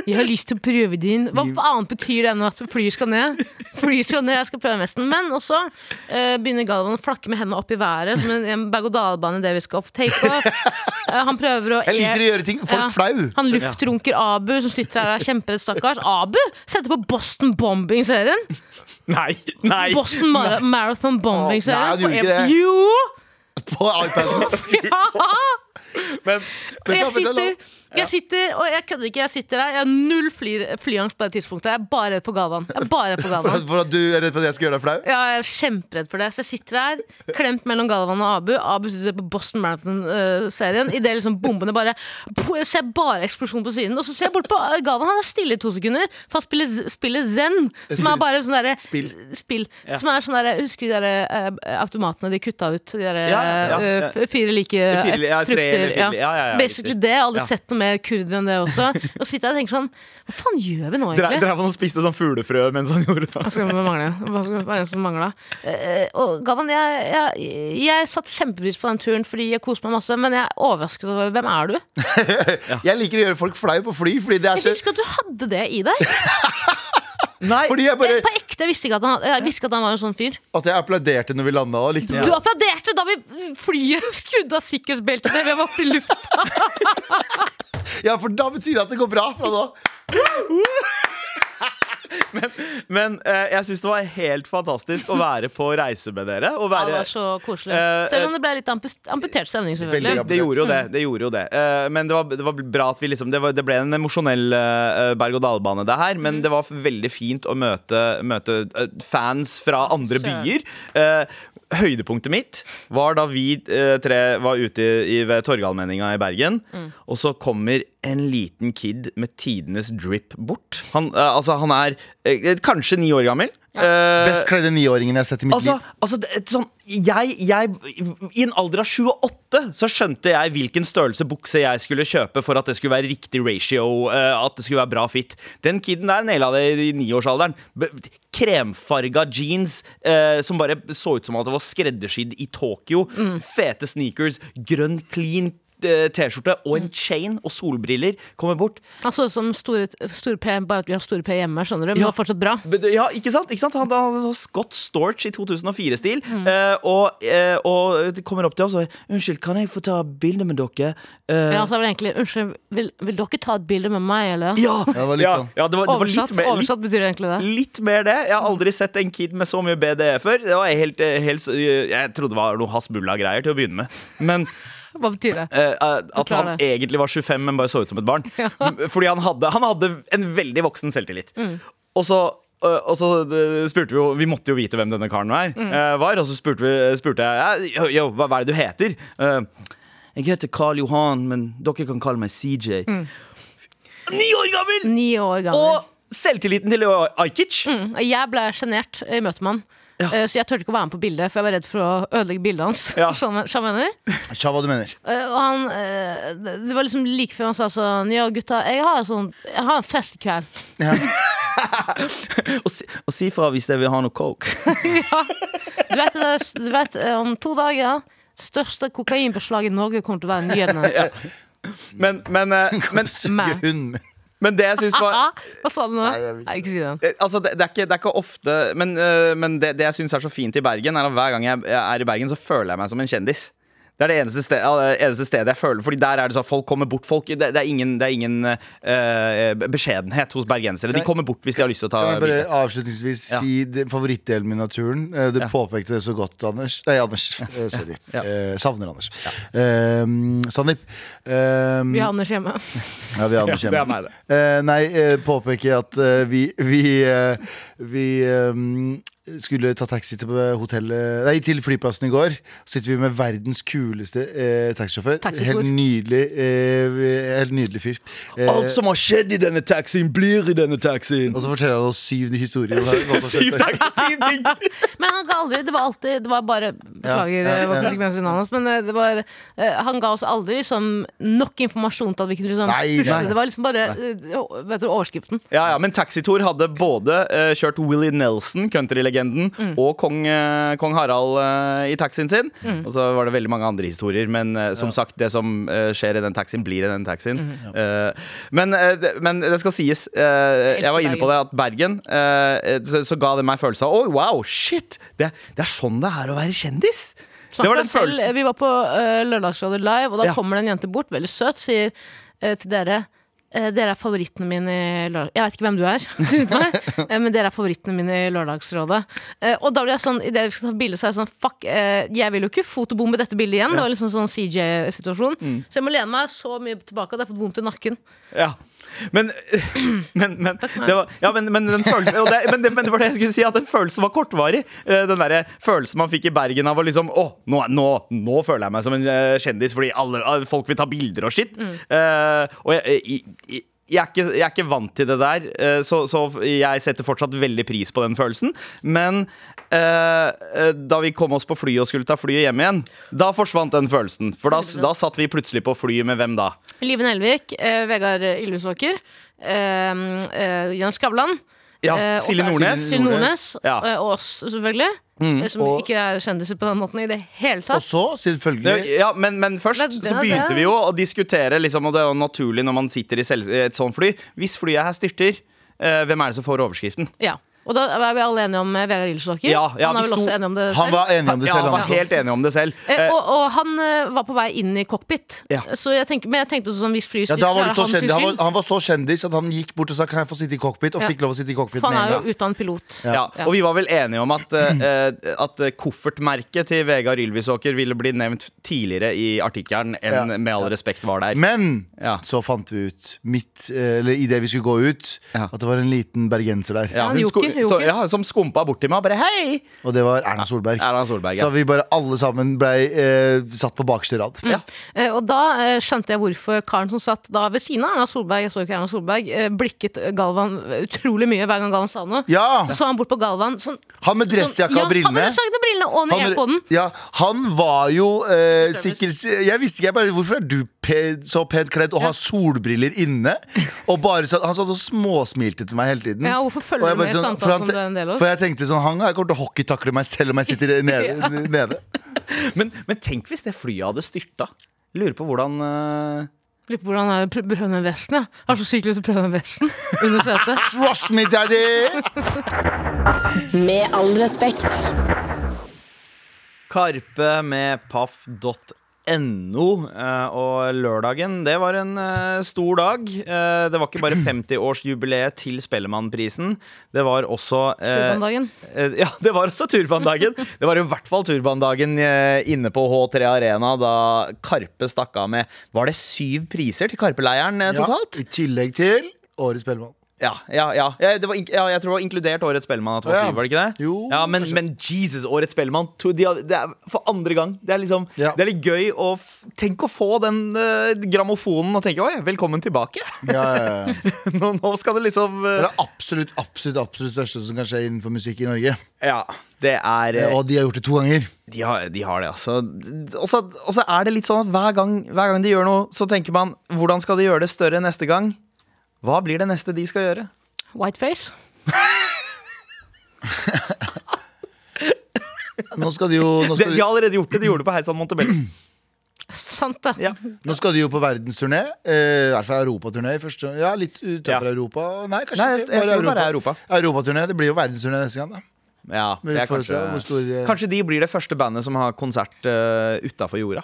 S2: Jeg har lyst til å prøve din Hva annet betyr det enn at flyet skal ned? Flyet skal ned, jeg skal prøve vesten. Men også eh, begynner Galvan å flakke med hendene opp i været som en, en berg-og-dal-bane idet vi skal opp takeoff. Eh, han prøver å e-
S4: Jeg liker å gjøre ting folk
S2: Ja.
S4: flau.
S2: Han luftrunker Abu, som sitter her og er kjemperedd, stakkars. Abu setter på Boston Bombing-serien!
S3: Nei, nei!
S2: Boston Mar Marathon
S4: Nei, han
S2: Bombing-serien.
S4: gjorde
S2: på
S4: ikke
S2: Air-
S4: det.
S2: Jo!
S4: På iPaden.
S2: Ja!
S3: Men,
S4: Men
S2: jeg
S4: kan vi
S2: sitter,
S4: fortelle
S2: jeg sitter, og jeg kødder ikke, jeg sitter der. Jeg har null fly, flyangst på det tidspunktet. Jeg er bare redd for Galvan. Jeg er bare redd for
S4: For at,
S2: Galvan.
S4: for at du er redd for at jeg skal gjøre deg flau?
S2: Ja, jeg er kjemperedd for det. Så jeg sitter her, klemt mellom Galvan og Abu. Abu sitter på Boston Marathon-serien. I det liksom bombene bare Puh, Jeg ser bare eksplosjon på siden. Og så ser jeg bort på eh, Galvan, han er stille i to sekunder. For han spiller, z- spiller Zen, som er bare sånn derre
S4: Spill.
S2: spill. Som er sånn derre Husker du de derre eh, automatene de kutta ut? De derre
S3: Ja, ja, ja,
S2: eh,
S3: ja.
S2: f- fire like eh,
S3: Fire- ja, tre
S2: frukter.
S3: eller fire- ja, ja, ja,
S2: Basically
S3: riktig.
S2: det. Jeg har aldri
S3: Ja.
S2: sett noe mer kurder enn det også. Og sitter jeg og tenker sånn Hva faen gjør vi nå,
S3: Dra-
S2: egentlig? Altså,
S3: Drev han og spiste sånn fuglefrø mens han gjorde det?
S2: Hva skal vi mangle? Hva skal hva er det som mangla? Eh, og Galvan, jeg, jeg, jeg satt kjempepris på den turen fordi jeg koste meg masse, men jeg er overrasket over hvem er du?
S4: Jeg liker å gjøre folk flau på fly, fordi det er
S3: Altså-
S2: Jeg
S4: så
S2: visste ikke at du hadde det i deg.
S3: Nei,
S4: Fordi jeg bare
S2: Jeg, på ekte jeg visste ikke at han, jeg visste ikke at han var en sånn fyr.
S4: At jeg applauderte når vi landa og likte
S2: Du
S4: det.
S2: applauderte da vi flyet skrudde av sikkerhetsbeltet da vi var oppe i lufta.
S4: Ja, for da betyr det at det går bra fra nå.
S3: Men eh, jeg syns det var helt fantastisk å være på reise med dere. Og
S2: Det
S3: være,
S2: var så koselig.
S3: Eh,
S2: Selv om det ble litt ampus- amputert stemning,
S4: Veldig
S2: selvfølgelig.
S4: amputert.
S3: det gjorde jo det. det, gjorde jo det. Eh, men det var, det var bra at vi liksom Det, var, det ble en emosjonell eh, berg-og-dal-bane, det her. Men det var veldig fint å møte, møte eh, fans fra andre
S2: Søren.
S3: byer. Eh, høydepunktet mitt var da vi eh, tre var ute i, ved Torgallmenninga i Bergen, og så kommer en liten kid med tidenes drip bort. Han, eh, altså, han er eh, kanskje ni år gammel. Eh,
S4: Best kledde niåringen jeg har sett i mitt
S3: Altså,
S4: liv.
S3: altså det, er sånn, jeg, jeg, I en alder av 28 så skjønte jeg hvilken størrelse bukse jeg skulle kjøpe for at det skulle være riktig ratio, eh, at det skulle være bra fit. Den kiden der naila det i niårsalderen. B- Kremfarga jeans eh, som bare så ut som at det var skreddersydd i Tokyo.
S4: Mm.
S3: Fete sneakers, grønn clean eh, T-skjorte og
S4: Mm.
S3: en chain og solbriller kommer bort.
S2: Han så ut som store, store P, bare at vi har store P hjemme, skjønner du. Men det var fortsatt bra.
S3: Men det- Ja, ikke sant? Ikke sant? Han han hadde sånn Scott Storch i 2004-stil. eh, og, eh, og det kommer opp til oss og 'Unnskyld, kan jeg få ta bilde med dere?' Eh,
S2: Ja, så er det egentlig, Unnskyld, vil, vil dere ta et bilde med meg, eller?
S3: ja!
S4: det var litt
S3: ja,
S4: sånn.
S3: ja, det var, det var
S2: Oversatt,
S3: litt, mer, litt,
S2: oversatt betyr egentlig det.
S3: litt mer det. Jeg har aldri sett en kid med så mye BDE før. Det var helt, eh, helt, s- jeg trodde det var noe hasbulla-greier til å begynne med. Men
S2: Hva betyr det?
S3: eh, eh, at
S2: Forklar
S3: han
S2: det.
S3: egentlig var 25, men bare så ut som et barn. M- Fordi han hadde, han hadde en veldig voksen selvtillit.
S2: Mm.
S3: Og så eh, og så eh, spurte Vi jo Vi måtte jo vite hvem denne karen var.
S2: Mm.
S3: eh, var og så spurte, vi, spurte jeg «Ja, jo, hva, hva er det du heter? Eh, jeg heter Karl Johan, men dere kan kalle meg CJ.
S2: Mm.
S3: Ni år gammel!
S2: Ni år gammel.
S3: Og selvtilliten til Leo Ajkic.
S2: Mm, Jeg ble sjenert i møtet med han. Eh, Så jeg turte ikke å være med på bildet, for jeg var redd for å ødelegge bildet hans.
S3: Ja.
S2: Skjønner- skjønner jeg mener?
S4: Sja, hva du mener.
S2: Eh, Og han eh, Det det var liksom like før han sa sånn Ja, gutta, jeg har, sånn, jeg har en fest i kveld.
S3: Og, si, og si fra hvis dere vil ha noe coke.
S2: Du vet, det der, du vet eh, om to dager Største kokainbeslaget i Norge kommer til å være nyhetene.
S3: Men, men, eh, men,
S2: Meg.
S4: Hun
S3: men det jeg syns var
S2: Ah, hva sa du nå?
S4: jeg vil ikke Mm.
S2: Nei, ikke si det.
S3: Eh, Altså, det, det, er ikke, det er ikke ofte Men, eh, men det, det jeg syns er så fint i Bergen, er at hver gang jeg er i Bergen, så føler jeg meg som en kjendis. Det er det eneste, sted, eh, eneste stedet jeg føler Fordi der er det sånn at folk kommer bort. Folk, det, det er ingen, det er ingen eh, beskjedenhet hos bergensere. De kommer bort hvis de har lyst til å ta
S4: Kan jeg bare
S3: bilde.
S4: avslutningsvis
S3: Ja.
S4: si det- favorittdelen min av turen? Eh, Du påpekte det så godt, Anders. Nei, Anders. Eh, Sorry.
S3: Ja.
S4: Eh, savner Anders. Eh, Sandeep. Eh,
S2: Vi har Anders hjemme.
S4: ja, vi har Anders
S3: Ja, det er
S4: hjemme.
S3: meg, det.
S4: Eh, nei, eh, påpeker at eh, vi Vi, eh, vi eh, skulle ta taxi til hotellet Nei, til flyplassen i går. Så sitter vi med verdens kuleste eh, taxisjåfør.
S2: Taxikor.
S4: Helt nydelig eh, Helt nydelig fyr. Eh,
S3: Alt som har skjedd i denne taxien, blir i denne taxien.
S4: og så forteller han oss syv historier.
S3: Syv ting! Syv ting.
S2: Men han ga aldri Det var alltid Det var bare Beklager
S4: ja,
S2: eh, hva
S4: ja.
S2: konsekvensen av hans, men eh, det var eh, Han ga oss aldri liksom nok informasjon til at vi kunne liksom
S4: Nei,
S2: pushe
S4: nei.
S2: det. Det var liksom bare eh, å- Vet du, overskriften.
S3: Ja, ja, Men Taxitor hadde både eh, kjørt Willy Nelson, countrylegenden, og kong, eh, kong Harald eh, i taxien sin. Og så var det veldig mange andre historier. Men eh, som sagt, det som eh, skjer i den taxien, blir i den taxien. Eh, men, eh, det- men det skal sies, eh, jeg var inne på det, at Bergen eh, så, så ga det meg følelsen av Oi, wow, shit! Det, det er sånn det er å være kjendis!
S2: Så
S3: det var
S2: han
S3: den
S2: selv,
S3: følelsen.
S2: Vi var på eh, Lørdagsrådet live, og da
S3: Ja.
S2: kommer det en jente bort, veldig søt, sier eh, til dere eh, dere er favorittene mine i lørdag... Jeg vet ikke hvem du er, sier hun til meg, eh, men dere er favorittene mine i Lørdagsrådet. Eh, Og da blir jeg sånn, idet vi skal ta bilde, så er jeg sånn Fuck, eh, jeg vil jo ikke fotobombe dette bildet igjen. Det var liksom sånn CJ-situasjon. Så jeg må lene meg så mye tilbake at jeg har fått vondt i nakken.
S3: Ja. Men, men, men, det var, ja, men, men, den følelsen, og det, men, det, men det var det jeg skulle si, at den følelsen var kortvarig. Eh, Den der følelsen man fikk i Bergen av å liksom Å, nå, er- nå, nå føler jeg meg som en eh, kjendis fordi alle, eh, folk vil ta bilder og skitt. og jeg, jeg, jeg, jeg, er ikke, jeg er ikke vant til det der, eh, så, så jeg setter fortsatt veldig pris på den følelsen. Men eh, eh, da vi kom oss på flyet og skulle ta flyet hjem igjen, da forsvant den følelsen. For da, da satt vi plutselig på flyet med hvem da?
S2: Live Nelvik, eh, Vegard Ylvisåker, eh, eh, Jens Skavlan.
S3: Ja,
S2: eh, og så
S3: Silje
S2: er det
S3: Nordnes.
S2: Silje Nordnes
S3: Ja.
S2: eh, Og oss, selvfølgelig. eh, Som
S4: og-
S2: ikke er kjendiser på den måten i det hele
S4: Og
S2: tatt.
S4: så, selvfølgelig
S3: Det- Ja, men, men først
S2: Men det-
S3: så begynte
S2: det-
S3: vi jo å diskutere, liksom, og det er jo naturlig når man sitter i selv, et sånt fly. Hvis flyet her styrter, eh, hvem er det som får overskriften?
S2: Ja. Og da er vi alle enige om eh, Vegard Ylvisåker.
S3: Ja, ja,
S2: han er
S3: vi
S2: vel
S3: sto-
S2: også enig om det
S4: Han
S2: selv.
S4: var enig om det
S3: Ja,
S4: selv.
S3: jeg var
S4: Han,
S3: helt enig om det selv.
S2: Eh,
S3: Eh,
S2: og, og han eh, var på vei inn i cockpit.
S3: Ja.
S2: Så jeg tenker, men jeg tenkte også sånn hvis flyet
S4: ja, da
S2: styrter,
S4: var
S2: er
S4: det så
S2: hans
S4: kjendis, han,
S2: skyld.
S4: var, han var så kjendis at han gikk bort og sa Kan jeg få sitte i cockpit, og
S2: Ja.
S4: fikk lov å sitte i cockpit.
S2: For han
S4: med en
S2: er
S4: gang.
S2: jo utdannet pilot.
S3: ja,
S2: Ja.
S3: og vi var vel enige om at, eh, eh, at eh, koffertmerket til Vegard Ylvisåker ville bli nevnt tidligere i artikkelen enn
S4: Ja.
S3: med all respekt var der.
S4: Men
S3: Ja.
S4: så fant vi ut, midt, eh, eller idet vi skulle gå ut,
S3: Ja.
S4: at det var en liten bergenser der.
S3: Ja,
S2: Han
S3: hun, sko
S2: joker. gjorde
S3: så,
S2: ikke.
S3: ja, som skumpa bort til meg og bare hei!
S4: Og det var Erna Solberg.
S3: Erna Solberg, ja.
S4: Så vi bare alle sammen blei eh, satt på bakerste rad.
S3: Ja.
S2: Eh, Og da eh, skjønte jeg hvorfor karen som satt da ved siden av Erna Solberg, jeg så ikke Erna Solberg, eh, blikket Galvan utrolig mye hver gang Galvan sa noe.
S4: Ja!
S2: Så så han bort på Galvan sånn,
S4: Han med dressjakke og
S2: Ja, han med
S4: brillene.
S2: dressjakke og brillene og ned på den.
S4: ja, han var jo eh, sikkert Jeg visste ikke, jeg bare Hvorfor er du pe- så pent kledd og har solbriller inne? Og bare satt, Han satt og småsmilte til meg hele tiden.
S2: Ja, hvorfor følger
S4: Og jeg
S2: du
S4: bare
S2: med
S4: sånn,
S2: i samtalen
S4: for han
S2: som
S4: te-
S2: du er en del av?
S4: For jeg tenkte sånn Han kommer til å hockeytakle meg selv om jeg sitter nede. nede.
S3: Men, men tenk hvis det flyet hadde styrta. Lurer på hvordan eh,
S2: Lurer på hvordan er det å pr- prøve den vesten, ja. Jeg har så sykt lyst til å prøve den vesten under setet.
S4: Trust me, daddy!
S1: Med all respekt.
S3: Karpe med paff.no. eh, Og lørdagen, det var en eh, stor dag. Eh, Det var ikke bare 50-årsjubileet til Spellemannprisen. Det var også eh,
S2: Turbandagen.
S3: Eh, Ja, det var også turbandagen. Det var i hvert fall turbandagen eh, inne på H3 Arena da Karpe stakk av med Var det syv priser til Karpe-leiren eh, totalt?
S4: Ja, I tillegg til Årets Spellemann.
S3: Ja, ja, ja. ja, det var, ink- ja jeg tror det var inkludert Årets Spellemann. At det var
S4: Ja.
S3: syv, var det ikke det?
S4: Jo,
S3: ja, men,
S4: kanskje.
S3: men Jesus, Årets Spellemann. to- de har- Det er for andre gang. Det er, liksom,
S4: Ja.
S3: det er litt gøy å f Tenk å få den eh, grammofonen og tenke oi, velkommen tilbake.
S4: Ja, ja, ja.
S3: nå, nå skal det liksom
S4: Det
S3: eh,
S4: er det absolutt, absolutt, absolutt største som kan skje innenfor musikk i Norge.
S3: Ja. Det er eh,
S4: Og de har gjort det to ganger.
S3: De har, de har det, altså. Og så og så er det litt sånn at hver gang, hver gang de gjør noe, så tenker man hvordan skal de gjøre det større neste gang? Hva blir det neste de skal gjøre?
S2: Whiteface.
S4: Nå skal de jo, nå
S3: De,
S4: skal
S3: de
S4: de,
S3: har allerede gjort det. De gjorde det på Heisan Montebello.
S2: Sant det.
S3: Ja.
S4: nå skal de jo på verdensturné. Eh, I hvert fall europaturné. i første- Ja, litt utenfor
S3: Ja.
S4: Europa. Nei, kanskje
S3: Nei, jeg-
S4: ikke.
S3: jeg
S4: Bare
S3: tror bare
S4: Europa. Europaturné. Det blir jo verdensturné neste gang, da.
S3: ja
S4: Men
S3: det
S4: vi
S3: er
S4: får se
S3: kanskje,
S4: hvor stor eh, de-
S3: kanskje de blir det første bandet som har konsert uh, utafor jorda.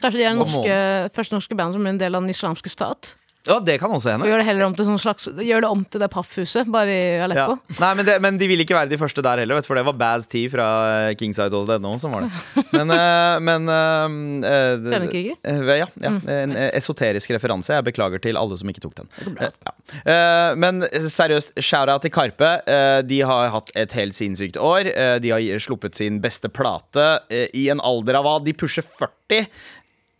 S2: Kanskje de er
S3: Og
S2: norske, første norske band som blir en del av den islamske stat.
S3: Ja, det kan også
S2: Og
S3: hende.
S2: gjør det heller om til, sånn slags, gjør det om til det paffhuset, bare i
S3: Ja.
S2: Aleppo.
S3: Nei, men, det, men de vil ikke være de første der heller, vet, du, for det var Baz T fra Kingside.no som var det. Men, eh, men eh, eh,
S2: Fremmedkriger?
S3: Eh, Ja, ja. en eh, esoterisk referanse. Jeg beklager til alle som ikke tok den. Eh, ja. Eh, Men seriøst, shout-out til Karpe. Eh, De har hatt et helt sinnssykt år. Eh, De har sluppet sin beste plate eh, i en alder av hva? De pusher 40.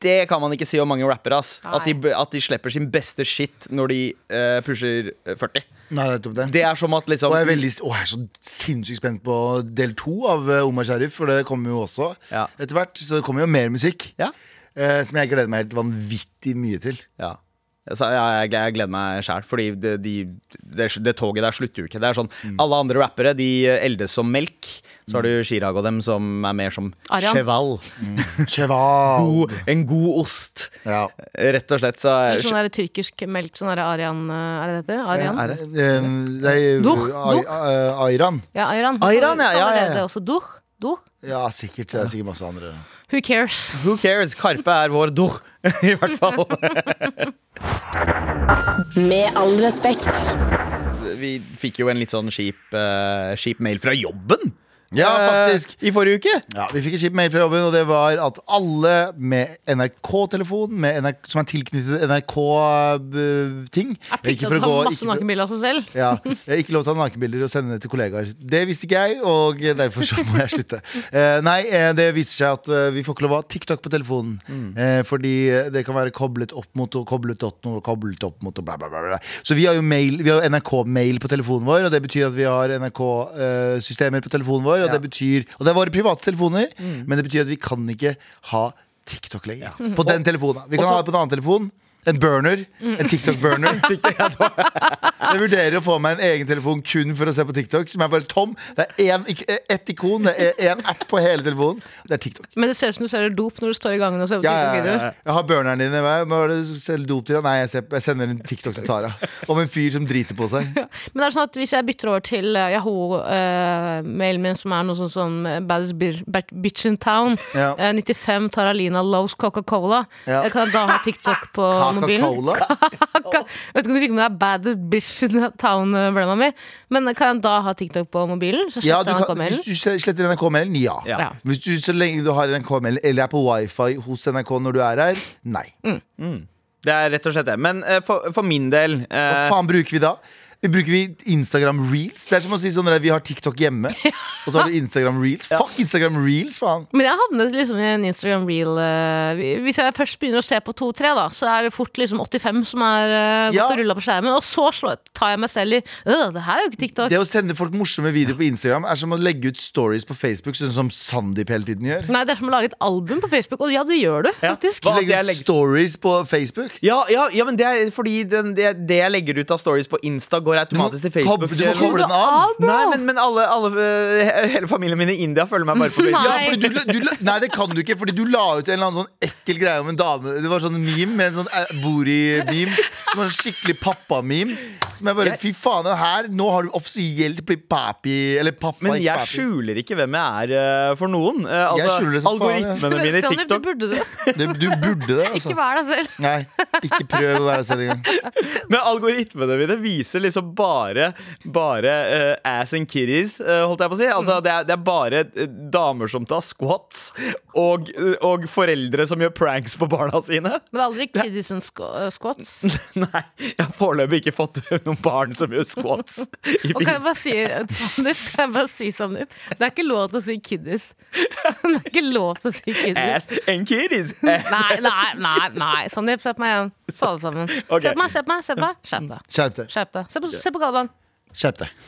S3: Det kan man ikke si om mange rappere. ass at de, at de slipper sin beste shit når de eh, pusher 40.
S4: Nei, nettopp det.
S3: Det er som at liksom
S4: Og jeg er, veldig, å, jeg er så sinnssykt spent på del to av eh, Omar Sharif, for det kommer jo også
S3: Ja.
S4: etter hvert. Så det kommer jo mer musikk.
S3: Ja.
S4: Eh, som jeg gleder meg helt vanvittig mye til.
S3: Ja. Så jeg, jeg, jeg gleder meg sjæl, fordi det, de, det, det toget der slutter jo ikke. Det er sånn,
S4: Mm.
S3: Alle andre rappere de eldes som melk. Så har du Chirag og dem som er mer som
S2: Arian.
S3: cheval.
S4: Cheval.
S3: God, en god ost,
S4: Mm. Ja.
S3: rett og slett. Så,
S2: Eller sånn der tyrkisk melk, sånn der Arian eh, Er det det heter? Arian?
S3: Er det?
S4: Eh, Det er
S2: Duh,
S4: Ai-
S2: duh.
S4: eh, Ayran.
S2: Ja, Ayran.
S3: Ayran, ja, ja, ja, ja.
S2: Allerede også Duh. Duh.
S4: Ja, sikkert. Det er sikkert masse andre.
S2: Who cares?
S3: Who cares? Karpe er vår dor, i hvert fall.
S1: Med all respekt.
S3: Vi fikk jo en litt sånn kjip, eh, kjip mail fra jobben
S4: Ja,
S3: eh,
S4: faktisk.
S3: i forrige uke.
S4: Ja, vi fikk en kjip mail fra jobben, og det var at alle med NRK-telefon med NRK, som er tilknyttet NRK-ting
S2: Er pliktig til å ta masse nakenbilder av seg selv.
S4: Ja, jeg har ikke lov til å ha nakenbilder og sende det til kollegaer. Det visste ikke jeg, og derfor så må jeg slutte. Eh, nei, eh, det viser seg at eh, vi får ikke lov å ha TikTok på telefonen.
S3: Mm.
S4: Eh, fordi eh, det kan være koblet opp mot og koblet opp mot og koblet opp mot og bla, bla, bla. bla. Så vi har jo mail, vi har jo NRK-mail på telefonen vår, og det betyr at vi har NRK-systemer på telefonen vår. Og,
S3: Ja. Mm.
S4: det betyr, og det er våre private telefoner, men det betyr at vi kan ikke ha TikTok lenger. På den telefonen. Vi kan
S3: og så- Mm.
S4: ha det på en annen telefon. En burner. En TikTok-burner. Jeg vurderer å få meg en egen telefon kun for å se på TikTok. Som er bare tom. Det er én ik- ett ikon, det er én app på hele telefonen. Det er TikTok.
S2: Men det ser ut som du selger dop når du står i gangen og ser på
S4: Ja, ja, ja,
S2: TikTok-videoer.
S4: ja. Jeg har burneren din. Hva hva er det du selger dop til? da? Nei, jeg, ser, jeg sender en TikTok til Tara. Om en fyr som driter på seg.
S2: Men det er sånn at hvis jeg bytter over til eh, Yahoo-mailen min, som er noe sånn som eh, Baddest bir- bat- Bitch in Town,
S4: Ja.
S2: eh, 95 Taralina loves Coca-Cola,
S4: Ja.
S2: eh, kan jeg da ha TikTok på mobilen?
S4: Coca-Cola.
S2: Kan- Vet ikke om du ikke om det er Baddest Bitch in Town-brømma mi, men kan jeg da ha TikTok på mobilen? Så
S4: Ja,
S2: sletter
S4: du
S2: jeg
S4: kan, hvis
S2: NRK-mailen.
S4: du sletter NRK-mailen, ja.
S3: Ja.
S2: Ja.
S4: Hvis du, så lenge du har NRK-mailen eller er på wifi hos NRK når du er her, nei.
S3: Det er rett og slett det. Men eh, for, for min del eh,
S4: Hva faen bruker vi da? Vi bruker vi Instagram reels. Det er som å si sånn at vi har TikTok hjemme, og så har du Instagram reels. Fuck Instagram reels, faen!
S2: Men jeg havnet liksom i en Instagram reel eh, Hvis jeg først begynner å se på to-tre, da, så er det fort liksom 85 som er eh, gått
S4: Ja.
S2: og rulla på skjermen. Og så slår, tar jeg meg selv i «Øh, Det her er jo ikke TikTok.
S4: Det å sende folk morsomme videoer på Instagram er som å legge ut stories på Facebook, sånn som Sandeep hele tiden gjør.
S2: Nei, det er som å lage et album på Facebook. Og ja, det gjør du,
S3: Ja.
S2: faktisk.
S3: Hva- det
S4: Legge
S3: jeg
S4: ut
S3: legger-
S4: stories på Facebook.
S3: Ja, ja, ja, men det er fordi den, det, det jeg legger ut av stories på Insta, går automatisk til
S4: Kob-
S3: Facebook.
S4: Du må koble den av.
S2: bro.
S3: Nei, men, men alle, alle, eh, hele familien min i India følger meg bare på Facebook.
S4: Ja,
S2: Nei.
S4: fordi du, la- du, la- nei, det kan du ikke, fordi du la ut en eller annen sånn ekkel greie om en dame. Det var sånn meme med en sånn eh, Bori-meme. Som var en skikkelig pappa-meme. Som jeg bare Fy faen, det her nå har du offisielt blitt papi. Eller pappa,
S3: Men
S4: ikke
S3: jeg
S4: papi.
S3: skjuler ikke hvem jeg er eh, for noen. Eh,
S4: Jeg
S3: altså,
S4: skjuler det som faen, ja.
S3: algoritmene mine i
S2: Sandeep,
S3: TikTok
S2: du burde det.
S4: Det, du burde det, altså.
S2: Ikke vær deg selv.
S4: Nei, ikke prøv å være deg selv engang.
S3: Men algoritmene mine viser liksom bare Bare eh, ass and kitties, eh, holdt jeg på å si. Altså,
S2: Mm.
S3: det, er, det er bare eh, damer som tar squats, og, og foreldre som gjør pranks på barna sine.
S2: Men det er aldri kiddies and squ- uh, squats.
S3: Nei, jeg har foreløpig ikke fått noen barn som gjør squats. I
S2: Og kan jeg bare si, Sandeep, kan jeg bare si Sandeep, det er ikke lov til å si kiddies. Det er ikke lov til å si kiddies.
S3: Ass and kitties! Ass.
S2: Nei, nei, nei, nei. Sandeep, se på meg igjen. Ta det sammen.
S3: Ok.
S2: Se på meg, se på meg. se på meg Skjerp deg.
S4: Skjerp deg.
S2: Skjerp deg. Se på, se på Galvan.
S4: Skjerp deg.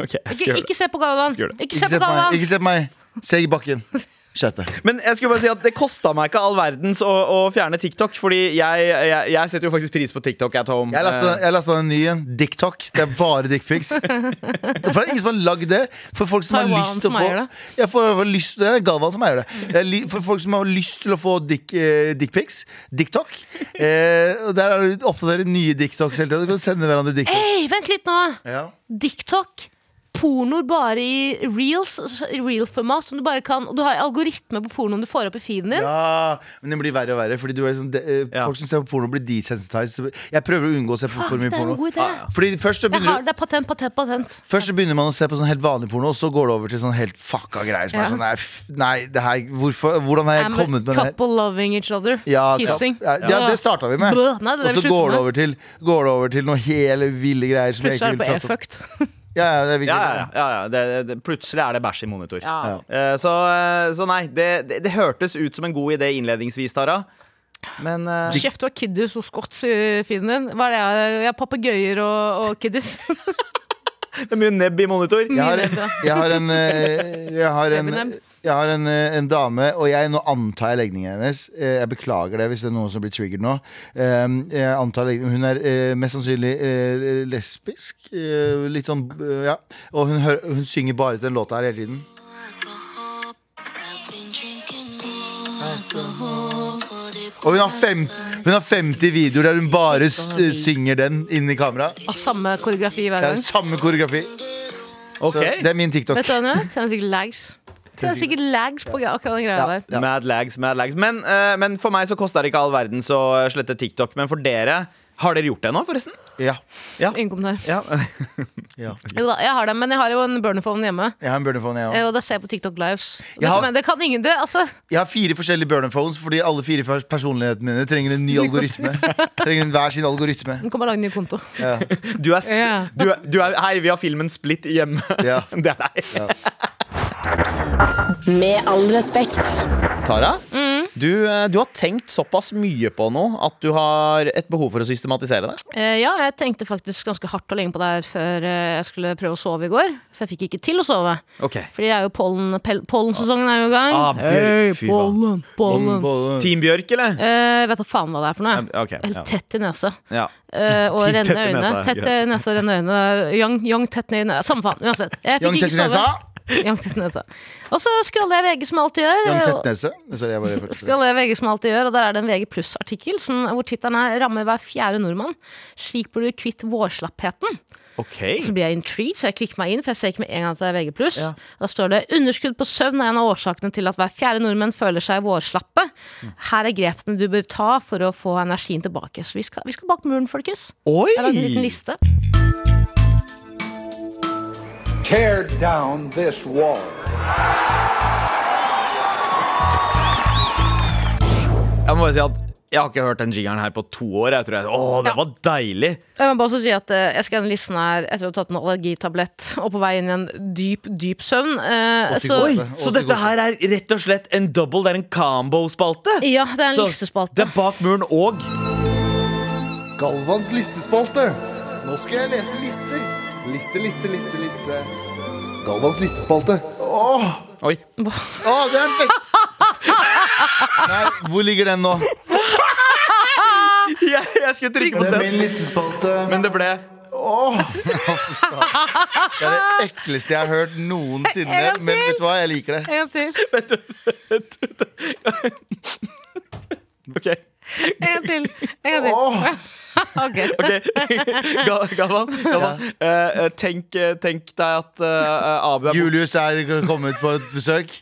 S3: Ok, jeg skal
S2: Ikke,
S3: gjøre det.
S2: ikke se på Galvan.
S3: Skal gjøre det.
S2: Ikke
S4: Ikke
S2: se
S4: se
S2: på
S4: på meg.
S2: Galvan.
S4: Ikke se på meg. Se i bakken. Skjerp deg.
S3: Men jeg skulle bare si at det kosta meg ikke all verdens å, å fjerne TikTok. Fordi jeg, jeg, jeg setter jo faktisk pris på TikTok at home.
S4: Jeg lasta,
S3: Eh,
S4: jeg lasta en ny en. DickTok. Det er bare dickpics. For det er ingen som har lagd det. For folk som har
S2: Taiwan
S4: lyst til
S2: som
S4: å få
S2: eier det.
S4: Ja, for, for lyst, det er Galvan som eier det. det er, li- for folk som har lyst til å få dick, eh, dickpics. DickTok. Eh, og der er det oppdaterer nye DickTocs hele tiden. Du kan sende hverandre dickpics.
S2: Hei, vent litt nå.
S4: Ja.
S2: TikTok. Pornoer bare i reels, i reel-format, som du bare kan. Og du har algoritme på pornoen du får opp i feeden din.
S4: Ja, men det blir verre og verre. Fordi du er sånn, de, eh,
S3: Ja.
S4: Folk som ser på porno, blir desensitized. Jeg prøver å unngå å se på for
S2: Fuck,
S4: mye
S2: Ah, det er en
S4: porno.
S2: god idé.
S4: Fordi først så
S2: Jeg
S4: begynner du
S2: har, det er patent, patent, patent.
S4: Først så begynner man å se på sånn helt vanlig porno, og så går det over til sånn helt fucka greier. Som
S2: Ja.
S4: er sånn, nei, f- nei det her, hvorfor, hvordan har jeg
S2: I'm a
S4: kommet med det her?
S2: couple loving each other.
S4: Ja,
S2: Kissing.
S4: ja, ja, det starta vi med.
S2: Bløh, nei, det er
S4: Og
S2: det
S4: så
S2: vi slutter
S4: går det,
S2: med.
S4: over til, går det over til noen hele ville greier. Som
S2: Plutselig
S4: jeg ikke
S2: er det på
S4: vil prate om.
S2: e-fucked.
S4: Ja, ja, det er
S3: ja, ja,
S4: virkelig-
S3: ja, ja, ja. Det, det, plutselig er det bæsj i monitor.
S4: Ja.
S3: Eh, Så, eh, så nei, det, det, det hørtes ut som en god idé innledningsvis, Tara. Men eh,
S2: Kjeft, du har kiddies og scots i feeden din. Hva er det jeg har? Jeg har papegøyer og, og kiddies.
S3: det er mye nebb i monitor.
S4: Jeg har,
S2: Mye
S4: jeg har en eh, Jeg har en,
S2: Eminem.
S4: jeg har en, eh, en dame, og jeg, nå antar jeg legningen hennes. Eh, Jeg beklager det hvis det er noen som blir triggered nå. Eh, Jeg antar legningen Hun er eh, mest sannsynlig eh, lesbisk. eh, Litt sånn eh, Ja. Og hun, hører, hun synger bare til den låta her hele tiden.
S5: I've been drinking alcohol for the
S4: Og hun har, fem, hun har 50 videoer der hun bare s- eh, synger den inn i kamera.
S2: Og samme koreografi hver
S4: Det er
S2: gang.
S4: samme koreografi.
S3: Ok,
S4: Så det er min TikTok.
S2: Vet du hva hun gjør? Ser sikkert lags. Ser sikkert lags på akkurat den greia
S4: Ja.
S2: der.
S3: Mad lags, mad lags. Men, eh, men for meg så kosta det ikke all verdens å slette TikTok. Men for dere, har dere gjort det nå, forresten?
S4: Ja.
S2: Ingen kommentar.
S3: Ja.
S4: ja.
S2: Jo da, jeg har det, men jeg har jo en burnerphone hjemme.
S4: Jeg har en burnerphone, jeg òg.
S2: eh, Og da ser jeg på TikTok Lives. Og
S4: Jeg
S2: det,
S4: har-
S2: men det kan ingen det, altså.
S4: Jeg har fire forskjellige burner phones fordi alle fire pers- personlighetene mine trenger en ny algoritme. Trenger en hver sin algoritme.
S2: Nå kommer jeg lage en ny konto.
S3: Du er, sp
S2: Ja.
S3: du, er, du er Hei, vi har filmen Split hjemme.
S4: Ja.
S3: Det er deg.
S1: Med all respekt.
S3: Tara,
S2: Mm.
S3: du, eh, du har tenkt såpass mye på noe at du har et behov for å systematisere det.
S2: Eh, ja, jeg tenkte faktisk ganske hardt og lenge på det her før eh, jeg skulle prøve å sove i går. For jeg fikk ikke til å sove.
S3: Ok
S2: Fordi jeg er jo pollen, pel, pollensesongen er jo i gang.
S3: Ah, Bjørk, fy
S2: Hei, pollen, pollen.
S4: Både-
S3: Team Bjørk, eller?
S2: Eh, jeg vet da faen hva det er for noe.
S3: Ok,
S2: Helt
S3: ja.
S2: tett i nesa.
S3: Ja.
S2: Eh, og
S3: Tett i
S2: renne øyne.
S3: nesa,
S2: Tett i
S3: greit.
S2: nesa, renne øyne. Young, young tett ned i nesa. Samme faen, uansett. Jeg
S4: Young
S2: fikk ikke
S4: Tettnesa.
S2: sove. Young tett nesa. Og så scroller jeg VG som jeg alltid gjør.
S4: Young
S2: og-
S4: Tettnese. Sorry, jeg bare følte det.
S2: Skal jeg VG som alltid gjør, og der er det en VG pluss-artikkel som- hvor tittelen er 'Rammer hver fjerde nordmann'. Slik blir du kvitt vårslappheten.
S3: Ok
S2: Så blir jeg intrigued, så jeg klikker meg inn, for jeg ser ikke med en gang at det er VG pluss. Da står det 'Underskudd på søvn er en av årsakene til at hver fjerde nordmenn føler seg vårslappe'. Her er grepene du bør ta for å få energien tilbake. Så vi skal, vi skal bak muren, folkens. Jeg har lagd en liten
S3: Oi!
S2: liste.
S6: Tear down this wall.
S3: Jeg må bare si at Jeg har ikke hørt den jingeren her på to år. Jeg tror jeg, Åh, det
S2: Ja.
S3: var deilig!
S2: Jeg må bare også si at eh, jeg skal gjerne listen her etter å ha tatt en allergitablett og på vei inn i en dyp, dyp søvn. eh,
S4: Og fikk
S2: så,
S4: Oi,
S3: Oi,
S4: Åtte,
S3: Så
S4: åtte
S3: dette
S4: godt.
S3: her er rett og slett en double, det er en combo-spalte?
S2: ja, det er en
S3: Så Det
S2: listespalte.
S3: er bak muren og
S7: Galvans listespalte. Nå skal jeg lese lister. Liste, liste, liste, liste. Galvans listespalte.
S3: Oi.
S4: Å, det er den beste! Nei, hvor ligger den nå?
S3: Jeg, jeg skulle trykke på den,
S4: listespalte.
S3: men det ble
S4: Det er det ekleste jeg har hørt noensinne.
S2: En gang
S4: Men
S2: til.
S4: vet du hva, jeg liker det.
S2: En gang til.
S3: OK.
S2: En gang til. En gang til. Ok.
S3: ok. Gal- Galvan, Galvan. eh, eh, tenk, eh, tenk deg at eh, Abu er borte.
S4: Julius er kommet på et besøk.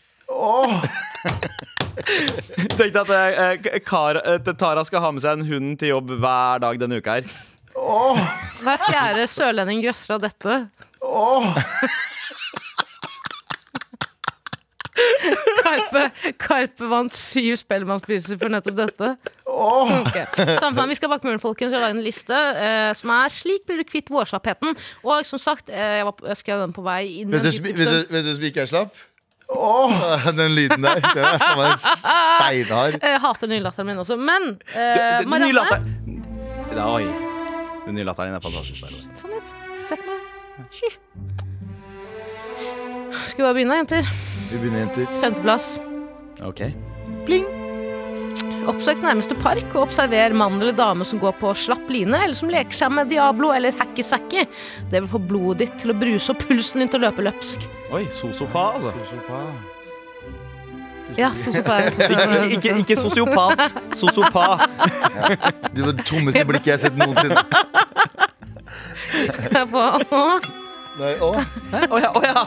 S3: Tenk deg at eh, eh, Kara, at Tara skal ha med seg en hund til jobb hver dag denne uka her.
S2: Eh, Hver fjerde sørlending grøsser av dette. Karpe, Karpe vant syv Spellemannpriser for nettopp dette. Ok. Samme faen, vi skal bak muren, folkens. Jeg har laget en liste eh, som er 'Slik blir du kvitt vårslappheten'. Og som sagt, eh, jeg, var, på- jeg skrev den på vei inn. i
S4: Vet du,
S2: en
S4: som-
S2: dyp
S4: vet
S2: søvn.
S4: du, vet du som ikke er slapp? Den lyden der. Den er faen meg steinhard.
S2: Eh, Jeg hater nylatteren min også. Men
S3: Den-
S2: eh,
S3: den nye
S2: Marianne
S3: latteren Ja, Oi. Den nye latteren din er fantastisk. by the way.
S2: Sandeep, se på meg. Hysj. Skal vi bare begynne, jenter?
S4: Vi begynner, jenter.
S2: Femteplass.
S3: Ok.
S2: Oppsøk nærmeste park og observer mann eller dame som går på slapp line, eller som leker seg med Diablo eller hacky-sacky. Det vil få blodet ditt til å bruse og pulsen din til å løpe løpsk.
S3: Oi, sosiopa, altså.
S2: Ja, sånn som bare
S3: Ikke, ikke, ikke sosiopat. Sosiopa.
S4: Det var det tommeste blikket jeg har sett noensinne.
S2: jeg på.
S4: Nei, å.
S3: Å ja. å ja.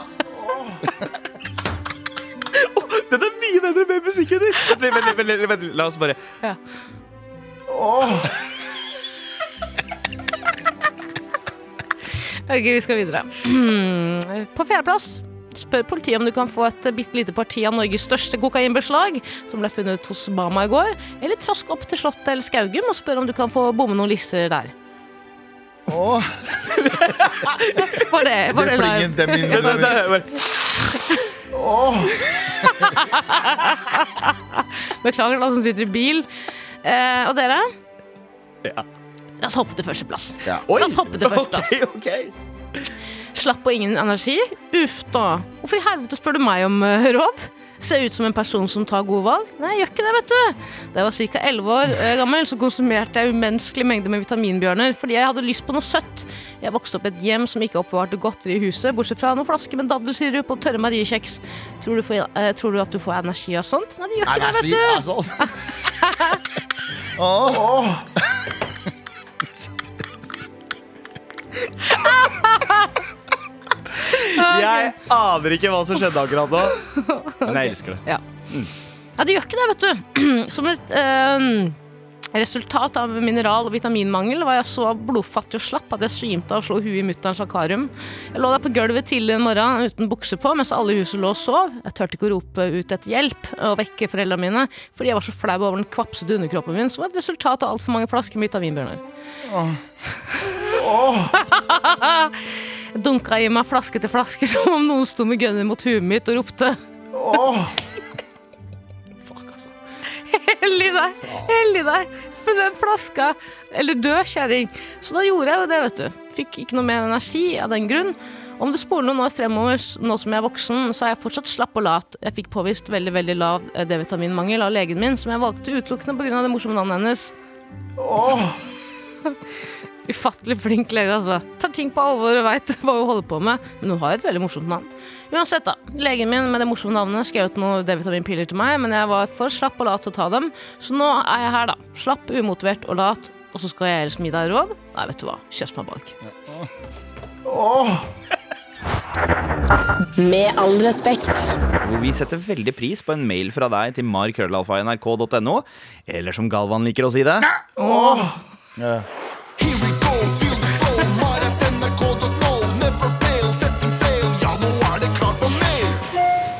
S3: Å, Den er mye bedre med musikken din! Vent, litt, vent, litt, vent, litt, vent, litt. la oss bare
S2: Ja. Ok, vi skal videre. Hmm, På fjerdeplass spør politiet om du kan få et bitte lite parti av Norges største kokainbeslag, som ble funnet hos Bama i går, eller trask opp til Slottet eller Skaugum og spør om du kan få bomme noen lisser der.
S4: Å,
S2: Var det,
S4: det
S2: var det live?
S4: plingen, det er min
S3: Vent, vent,
S4: det
S3: vent, vent.
S2: Beklager til alle som sitter i bil. Eh, og dere?
S3: Ja.
S2: La oss hoppe til førsteplass.
S3: Oi.
S2: La oss hoppe til første,
S3: Ok, ok.
S2: Slapp og ingen energi? Uff da. Hvorfor i helvete spør du meg om eh, råd? Ser jeg ut som en person som tar gode valg? Nei, jeg gjør ikke det, vet du. Da jeg var ca. 11 år eh, gammel, så konsumerte jeg umenneskelige mengder med vitaminbjørner fordi jeg hadde lyst på noe søtt. Jeg vokste opp i et hjem som ikke oppbevarte godteri i huset, bortsett fra noen flasker med daddelsirup og tørre mariekjeks. Tror, du får- eh, tror du at du får energi av sånt? Nei, det gjør ikke det, vet
S4: Energi,
S2: du.
S4: altså. Å,
S3: Jeg aner ikke hva som skjedde akkurat nå, men jeg elsker det.
S2: Ja. ja, det gjør ikke det, vet du. Som et eh, resultat av mineral- og vitaminmangel var jeg så blodfattig og slapp at jeg svimte av og slo huet i mutterens akvarium. Jeg lå der på gulvet tidlig en morgen uten bukse på mens alle i huset lå og sov. Jeg turte ikke å rope ut etter hjelp og vekke foreldrene mine fordi jeg var så flau over den kvapsete underkroppen min som var et resultat av altfor mange flasker med vitaminbjørner. Jeg dunka i meg flaske til flaske som om noen sto med gunner mot huet mitt og ropte Hell i deg! Hell i deg! For den flaska! Eller dø, kjerring. Så da gjorde jeg jo det, vet du. Fikk ikke noe mer energi av den grunn. Om du spoler noen år fremover, s- nå som jeg er voksen, så er jeg fortsatt slapp og lat. Jeg fikk påvist veldig veldig lav eh, D-vitaminmangel av legen min, som jeg valgte utelukkende pga. det morsomme navnet hennes. Ufattelig flink lege, altså. Tar ting på alvor og veit hva hun holder på med. Men hun har et veldig morsomt navn. Uansett, da. Legen min med det morsomme navnet skrev ut noen D-vitaminpiller til meg, men jeg var for slapp og lat til å ta dem, så nå er jeg her, da. Slapp, umotivert og lat. Og så skal jeg ellers gi deg råd? Nei, vet du hva. Kjøss meg bak.
S1: Med all respekt.
S3: Hvor vi setter veldig pris på en mail fra deg til markrøllalfa.nrk.no, eller som Galvan liker å si det.
S4: ja.
S7: Here we go, feel the flow. Marat NRK.no. Never fail, setting sail. Ja, nå er det klart for mer.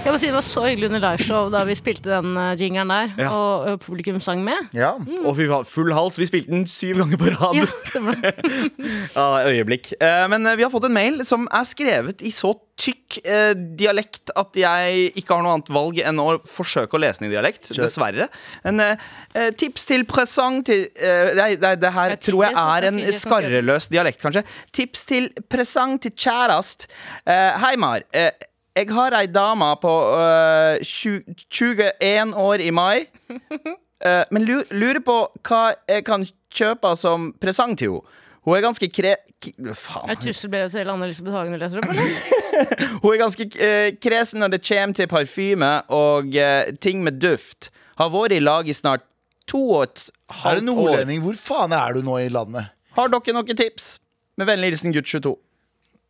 S2: Skal må si Det var så hyggelig under liveshow da vi spilte den eh, jingeren der,
S3: Ja.
S2: og eh, publikum sang med.
S4: Ja.
S3: Å, fy faen, full hals. Vi spilte den syv ganger på rad.
S2: Ja, stemmer det.
S3: Ja, det er øyeblikk. Eh, Men eh, vi har fått en mail som er skrevet i så tykk eh, dialekt at jeg ikke har noe annet valg enn å forsøke å lese den i dialekt. Dessverre. En eh, eh, tips til presang til eh, Nei, nei, det her
S2: Jeg
S3: tror jeg
S2: tviler,
S3: er
S2: så
S3: en
S2: jeg sier det som
S3: skarreløs dialekt, kanskje. Tips til presang til kjærest. Eh, Hei, Mar. Eh, Jeg har ei dame på eh, tju- 21 år i mai. Eh, men lu- lurer på hva jeg kan kjøpe som presang til henne. Hun er ganske kre... K faen.
S2: Et trusselbrev til Anne Elisabeth Hagen du leser opp, eller?
S3: Hun er ganske eh, kresen når det kommer til parfyme og eh, ting med duft. Har vært i lag i snart to og et
S4: Er du
S3: halvt år.
S4: nordlending? Hvor faen er du nå i landet?
S3: Har dere noen tips? Med vennlig hilsen gutt 22.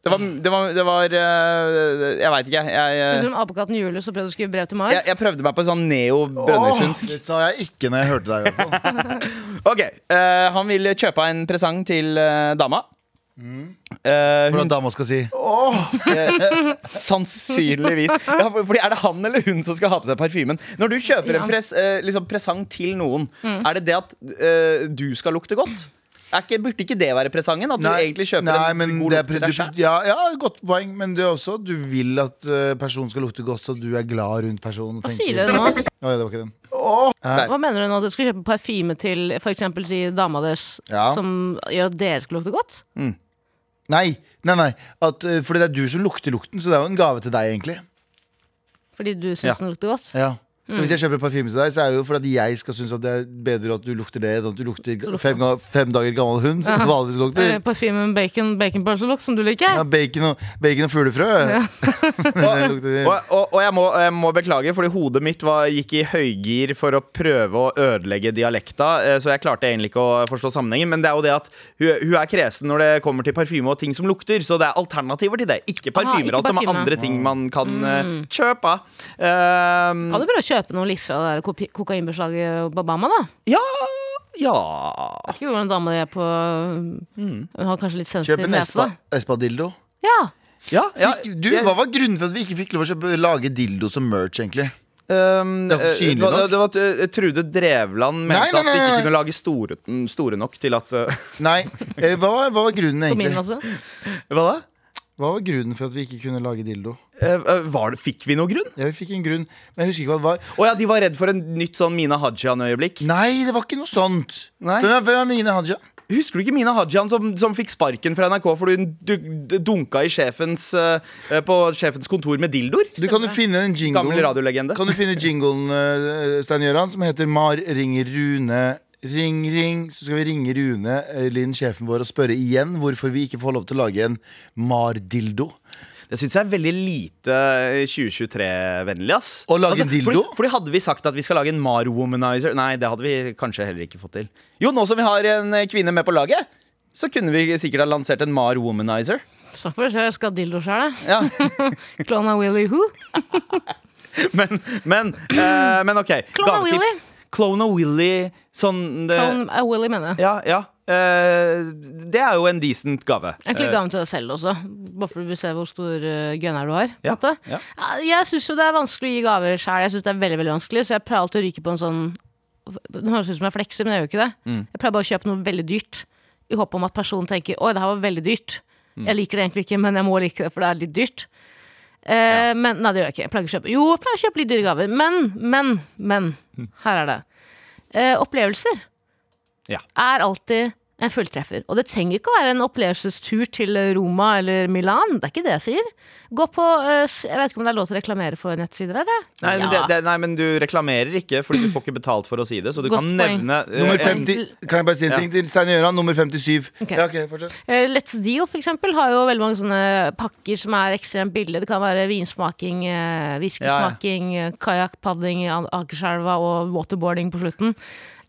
S3: Det var, det var, det var eh, Jeg veit ikke. Jeg, jeg,
S2: Liksom Apekatten Julius og prøvde å skrive brev til Mar.
S3: jeg, jeg prøvde meg på en sånn neo-brønnøysundsk.
S4: Det sa jeg ikke når jeg hørte deg. i hvert fall.
S3: Ok, eh, Han vil kjøpe en presang til eh, dama. Eh,
S4: For
S3: hun,
S4: at dama skal si
S3: sannsynligvis. Ja, for- fordi Er det han eller hun som skal ha på seg parfymen? Når du kjøper
S2: Ja. Mm.
S3: en pres, eh, liksom presang til noen, er det det at eh, du skal lukte godt? Er ikke, burde ikke det være presangen? At du egentlig kjøper
S4: nei,
S3: en
S4: men
S3: god
S4: det er
S3: lukt til deg
S4: pre-
S3: selv?
S4: du, ja, ja, godt poeng, men det er også at du vil at eh, personen skal lukte godt, så du er glad rundt personen.
S2: Hva
S4: tenker
S2: sier
S4: du.
S2: dere nå?
S4: Å, ja, det var ikke den.
S2: Hva mener du nå? Du skal kjøpe parfyme til f.eks. si dama deres,
S4: Ja.
S2: som gjør at dere skal lukte godt?
S4: Nei, nei, nei. At, eh, fordi det er du som lukter lukten, så det er jo en gave til deg, egentlig.
S2: Fordi du syns
S3: Ja.
S2: den lukter godt?
S4: Ja. Så hvis jeg kjøper parfyme til deg, så er det jo fordi at jeg skal synes at det er bedre at du lukter det enn at du lukter ga- fem, ga- fem dager gammel hund, som du vanligvis
S2: Eh,
S4: lukter.
S2: Parfyme med bacon, bacon parsellukt, som du
S4: Ja,
S2: liker?
S4: bacon, og, bacon og fuglefrø. Det lukter-
S3: Og, og, og jeg, må, jeg må beklage, fordi hodet mitt var, gikk i høygir for å prøve å ødelegge dialekta. eh, Så jeg klarte egentlig ikke å forstå sammenhengen. Men det er jo det at hun, hun er kresen når det kommer til parfyme og ting som lukter. Så det er alternativer til det. Ikke parfymer,
S2: ikke
S3: altså. Med
S2: parfyme. Mm.
S3: andre ting man kan eh, kjøpe.
S2: Kan
S3: Ehm,
S2: du prøve å kjøpe noen lister av det der kopi- kokainbeslaget på Bama, da?
S3: Ja Ja
S2: Jeg vet ikke hvordan dama di er på Hun har kanskje litt
S4: Kjøp
S2: sensitiv
S4: en
S2: nese, da.
S4: Espa- Espadildo.
S2: Ja.
S3: Ja, ja
S4: Fikk- Du, Hva var grunnen for at vi ikke fikk lov å kjøpe, lage dildo som merch, egentlig?
S3: ehm,
S4: Det var
S3: eh,
S4: synlig
S3: det var-
S4: nok.
S3: Det var at eh, Trude Drevland mente
S4: Nei, nei,
S3: at de
S4: nei,
S3: ikke
S4: nei.
S3: kunne lage store, mm, store nok til at eh,
S4: Nei, eh, hva, var- hva var grunnen
S2: På min,
S4: egentlig?
S2: altså.
S3: Hva da?
S4: Hva var grunnen for at vi ikke kunne lage dildo?
S3: Eh, eh, var det, fikk vi noe grunn?
S4: Ja, vi fikk en grunn, men jeg husker ikke hva det var.
S3: Å ja, de var redd for en nytt sånn Mina Hajian-øyeblikk.
S4: Nei, det var ikke noe sånt.
S3: Nei.
S4: Hvem, er, hvem er Mine Haja?
S3: Husker du ikke Mina Hajian som, som fikk sparken fra NRK fordi hun du, d- dunka i sjefens, eh, eh, på sjefens kontor med dildoer?
S4: Du kan jo finne den
S3: Gammel
S4: jinglen
S3: radiolegende.
S4: Kan du finne jinglen, eh, Stein Gjøran, som heter Mar ringer Rune Ring, ring, så skal vi ringe Rune eh, Linn, sjefen vår, og spørre igjen hvorfor vi ikke får lov til å lage en Mar-dildo.
S3: Det syns jeg er veldig lite 2023-vennlig. ass Altså,
S4: Å lage en dildo?
S3: Fordi, fordi Hadde vi sagt at vi skal lage en Mar Womanizer Nei, det hadde vi kanskje heller ikke fått til. Jo, nå som vi har en eh, kvinne med på laget, så kunne vi sikkert ha lansert en Mar Womanizer.
S2: Snakk for deg selv, jeg skal ha dildo sjæl, jeg.
S3: Ja,
S2: Klona Willy Who?
S3: Men, men, eh, men OK.
S2: Clone of
S3: gavetips.
S2: Willy.
S3: Clone of Willy. Sånn det,
S2: Klon er Willy, mener jeg.
S3: Ja, ja. eh, det er jo en decent gave.
S2: Egentlig
S3: Eh,
S2: gaven til deg selv også, bare for du vil se hvor stor uh, gunner du har. på en
S3: Ja,
S2: måte.
S3: ja.
S2: Ja, Jeg syns jo det er vanskelig å gi gaver sjæl, jeg synes det er veldig veldig vanskelig, så jeg pleier alltid å ryke på en sånn Det høres ut som jeg flekser, men jeg gjør jo ikke det.
S3: Mm.
S2: Jeg pleier bare å kjøpe noe veldig dyrt, i håp om at personen tenker 'oi, det her var veldig dyrt'.
S3: Mm.
S2: Jeg liker det egentlig ikke, men jeg må like det, for det er litt dyrt. Eh, Men nei, det gjør jeg ikke. Jeg pleier ikke å kjøpe Jo, jeg pleier å kjøpe litt dyre gaver. Men, men, men. Her er det. Eh, opplevelser
S3: Ja.
S2: er alltid en fulltreffer. Og det trenger ikke å være en opplevelsestur til Roma eller Milan. Det er ikke det jeg sier. Gå på eh, s- Jeg vet ikke om det er lov til å reklamere for nettsider her? jeg?
S3: Eh, Nei, men
S2: Ja.
S3: det, det, nei, men du reklamerer ikke, fordi du får ikke betalt for å si det. Så du
S2: Godt
S3: kan
S2: poeng.
S3: nevne eh,
S4: Nummer
S3: en-
S4: 50, kan jeg bare si en ting til? Stein Gjøran, nummer 57.
S2: Ok.
S4: Ja, ok, fortsett.
S2: Eh, Let's Deal for eksempel, har jo veldig mange sånne pakker som er ekstremt billige. Det kan være vinsmaking, eh, whiskysmaking, eh, kajakkpadling i An- Akerselva og waterboarding på slutten.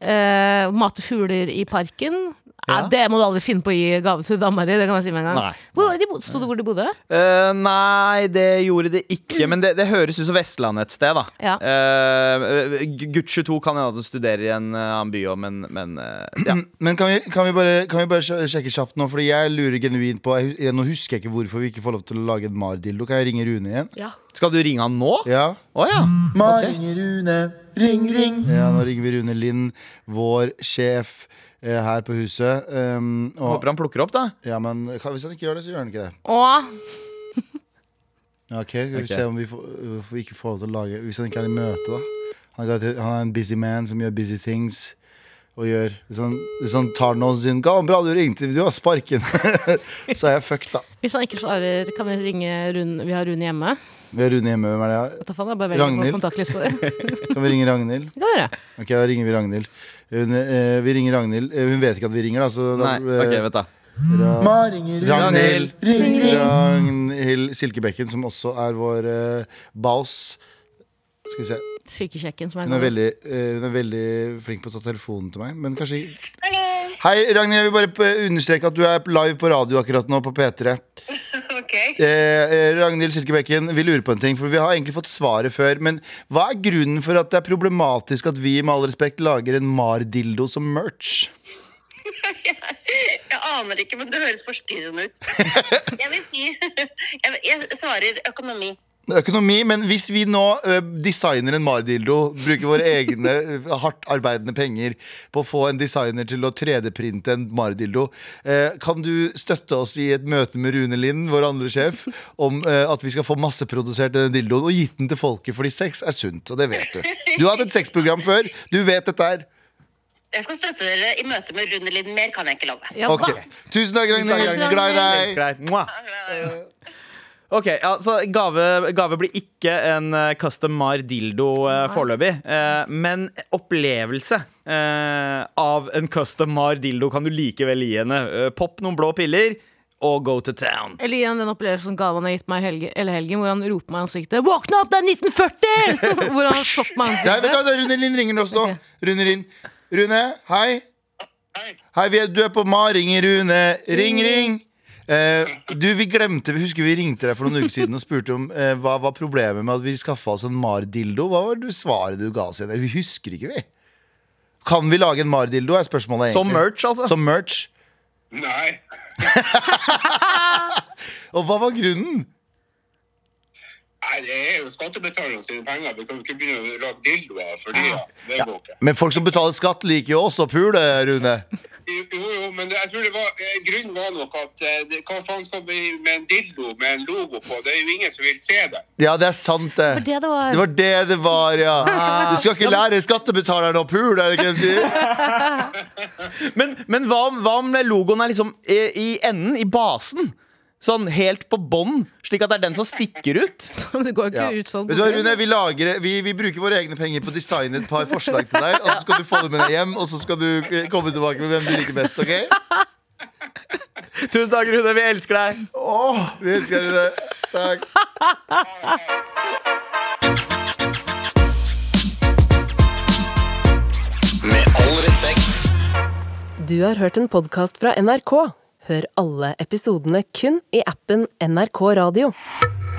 S2: Eh, mate fugler i parken Ja. det må du aldri finne på å gi gave til dama di. Det kan jeg si med en gang.
S3: Nei.
S2: Hvor var det de bodde? Sto det hvor de bodde?
S3: Eh, nei, det gjorde det ikke. Men det, det høres ut som Vestlandet et sted, da.
S2: Ja.
S3: Eh, Gu- Gutt 22 kan hende at hun studerer i en eh, annen by òg, men, men eh, ja.
S4: Men kan vi, kan, vi bare, kan vi bare sj- sjekke kjapt nå? Fordi jeg lurer genuint på jeg, hus- Nå husker jeg ikke hvorfor vi ikke får lov til å lage en Mar-dildo. Kan jeg ringe Rune igjen?
S3: Skal du ringe han nå? Å
S4: Ja.
S3: ja.
S4: Mar
S3: Ok.
S4: ringer Rune. Ring, ring. Ja, nå ringer vi Rune Lind, vår sjef eh, her på huset. Um, og,
S3: Håper han plukker opp, da.
S4: ja, men kan- hvis han ikke gjør det, så gjør han ikke det.
S2: Åh,
S4: Ja, Ok, skal vi
S3: Ok.
S4: se om vi, får, hvorfor vi ikke får lov til å lage Hvis han ikke er i møte da Han er, garantert- han er en busy man som gjør busy things Og gjør Hvis han, hvis han tar noen sin Ga, bra du ringte, du har sparken Så er jeg fucked da
S2: hvis han ikke svarer, kan vi ringe Rune. Vi har Rune hjemme.
S4: Vi har Rune hjemme, hvem er det?
S2: Hva faen, jeg bare velger på
S4: Ragnhild.
S2: kontaktlista di. Det
S4: Kan vi ringe Ragnhild?
S2: kan vi gjøre.
S4: Ok, da ringer vi Ragnhild hun, eh, Vi ringer Ragnhild Eh, Hun vet ikke at vi ringer da så da,
S3: Nei, ok,
S4: eh,
S3: vet da.
S4: Ragnhild Ragnhild Silkebekken Som også er vår eh, baus Skal vi se
S2: Sykesjekken som er
S4: Hun er, veldig, eh, hun er veldig flink på å ta telefonen til meg, men kanskje Hei, Ragnhild. Jeg vil bare p- understreke at du er live på radio akkurat nå, på P3.
S8: Ok.
S4: Eh, eh, Ragnhild Silkebekken, vi lurer på en ting, for vi har egentlig fått svaret før. Men hva er grunnen for at det er problematisk at vi med all respekt lager en Mar-dildo som merch?
S8: Jeg aner ikke, men det høres forstyrrende ut. Jeg vil si Jeg, jeg svarer økonomi.
S4: Økonomi, men hvis vi nå ø, designer en Mar-dildo, bruker våre egne ø, hardt arbeidende penger på å få en designer til å 3D-printe en Mar-dildo, eh, kan du støtte oss i et møte med Rune Lind, vår andre sjef, om eh, at vi skal få masseprodusert denne dildoen og gitt den til folket, fordi sex er sunt, og det vet du. Du har hatt et sexprogram før, du vet dette her.
S8: Jeg skal støtte dere i møte med Rune Lind. Mer kan jeg ikke love.
S2: Ja,
S4: Ok.
S2: da.
S4: Tusen takk, Ragnhild.
S2: Ragnhild.
S4: Glad i deg.
S3: Greit. Mwah. Ok, ja, så gave, gave blir ikke en eh, custom mar dildo eh, foreløpig. eh, men opplevelse eh, av en custom mar dildo kan du likevel gi henne. Eh, popp noen blå piller og go to town.
S2: Eller igjen den opplevelsen Galvan har gitt meg i helge, eller helgen, hvor han roper meg i ansiktet 'Våkne opp, det er 1940!' hvor han har slått meg i
S4: Nei, vet du,
S2: ansiktet.
S4: hva, det er Rune Lind ringer oss nå. Rune Lind. Rune, hei. Hei, vi er, du er på Ma. Ringer Rune. Ring, ring. Eh, du, vi glemte, vi husker vi ringte deg for noen uker siden og spurte om eh, hva var problemet med at vi skaffa oss en Mar-dildo. Hva var det svaret du ga oss igjen? Vi husker ikke, vi. Kan vi lage en Mar-dildo, er spørsmålet
S3: Som
S4: egentlig.
S3: merch, altså.
S4: Som merch.
S9: Nei.
S4: Og hva var grunnen?
S9: Nei, det er jo skattebetalerne sine penger. Vi kan jo ikke begynne å lage dildoer for det. Altså. Det går ikke.
S4: Men folk som betaler skatt, liker jo også å pule, Rune.
S9: Jo, jo, jo, men det, jeg tror det var, eh, grunnen var nok at eh, det, hva faen skal vi med en dildo med en logo på? Det er jo ingen som vil se det.
S4: Ja, det er sant, det.
S2: For det det var.
S4: det var det det var, ja. Du skal ikke lære skattebetalerne å pule, er det ikke det de sier?
S3: Men, men hva, om, hva om logoen er liksom i, i enden, i basen? Sånn helt på bånn, slik at det er den som stikker ut?
S2: Det går ikke
S4: Ja.
S2: ut sånn.
S4: Vet du hva, Rune, vi, lager, vi, vi bruker våre egne penger på å designe et par forslag til deg. Og så skal du få det med deg hjem, og så skal du eh, komme tilbake med hvem du liker best. ok?
S3: Tusen takk, Rune. Vi elsker deg.
S4: Vi elsker deg, Rune. Takk.
S1: Du har hørt en podkast fra NRK. Hør alle episodene kun i appen NRK Radio.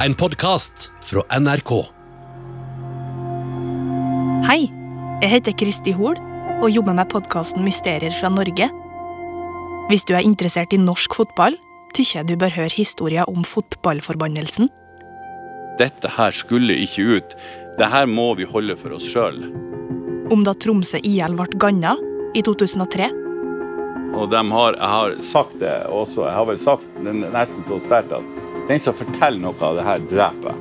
S10: En podcast fra NRK.
S11: Hei, jeg heter Kristi Hol og jobber med podkasten Mysterier fra Norge. Hvis du er interessert i norsk fotball, tykker jeg du bør høre historien om fotballforbannelsen.
S10: Dette her skulle ikke ut. Dette må vi holde for oss sjøl.
S11: Om da Tromsø IL ble ganna i 2003.
S10: Og de har, jeg har sagt det også, jeg har vel sagt det nesten så sterkt at den som forteller noe av det her, dreper jeg.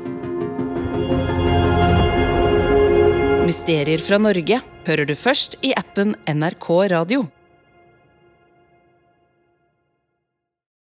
S1: Mysterier fra Norge hører du først i appen NRK Radio.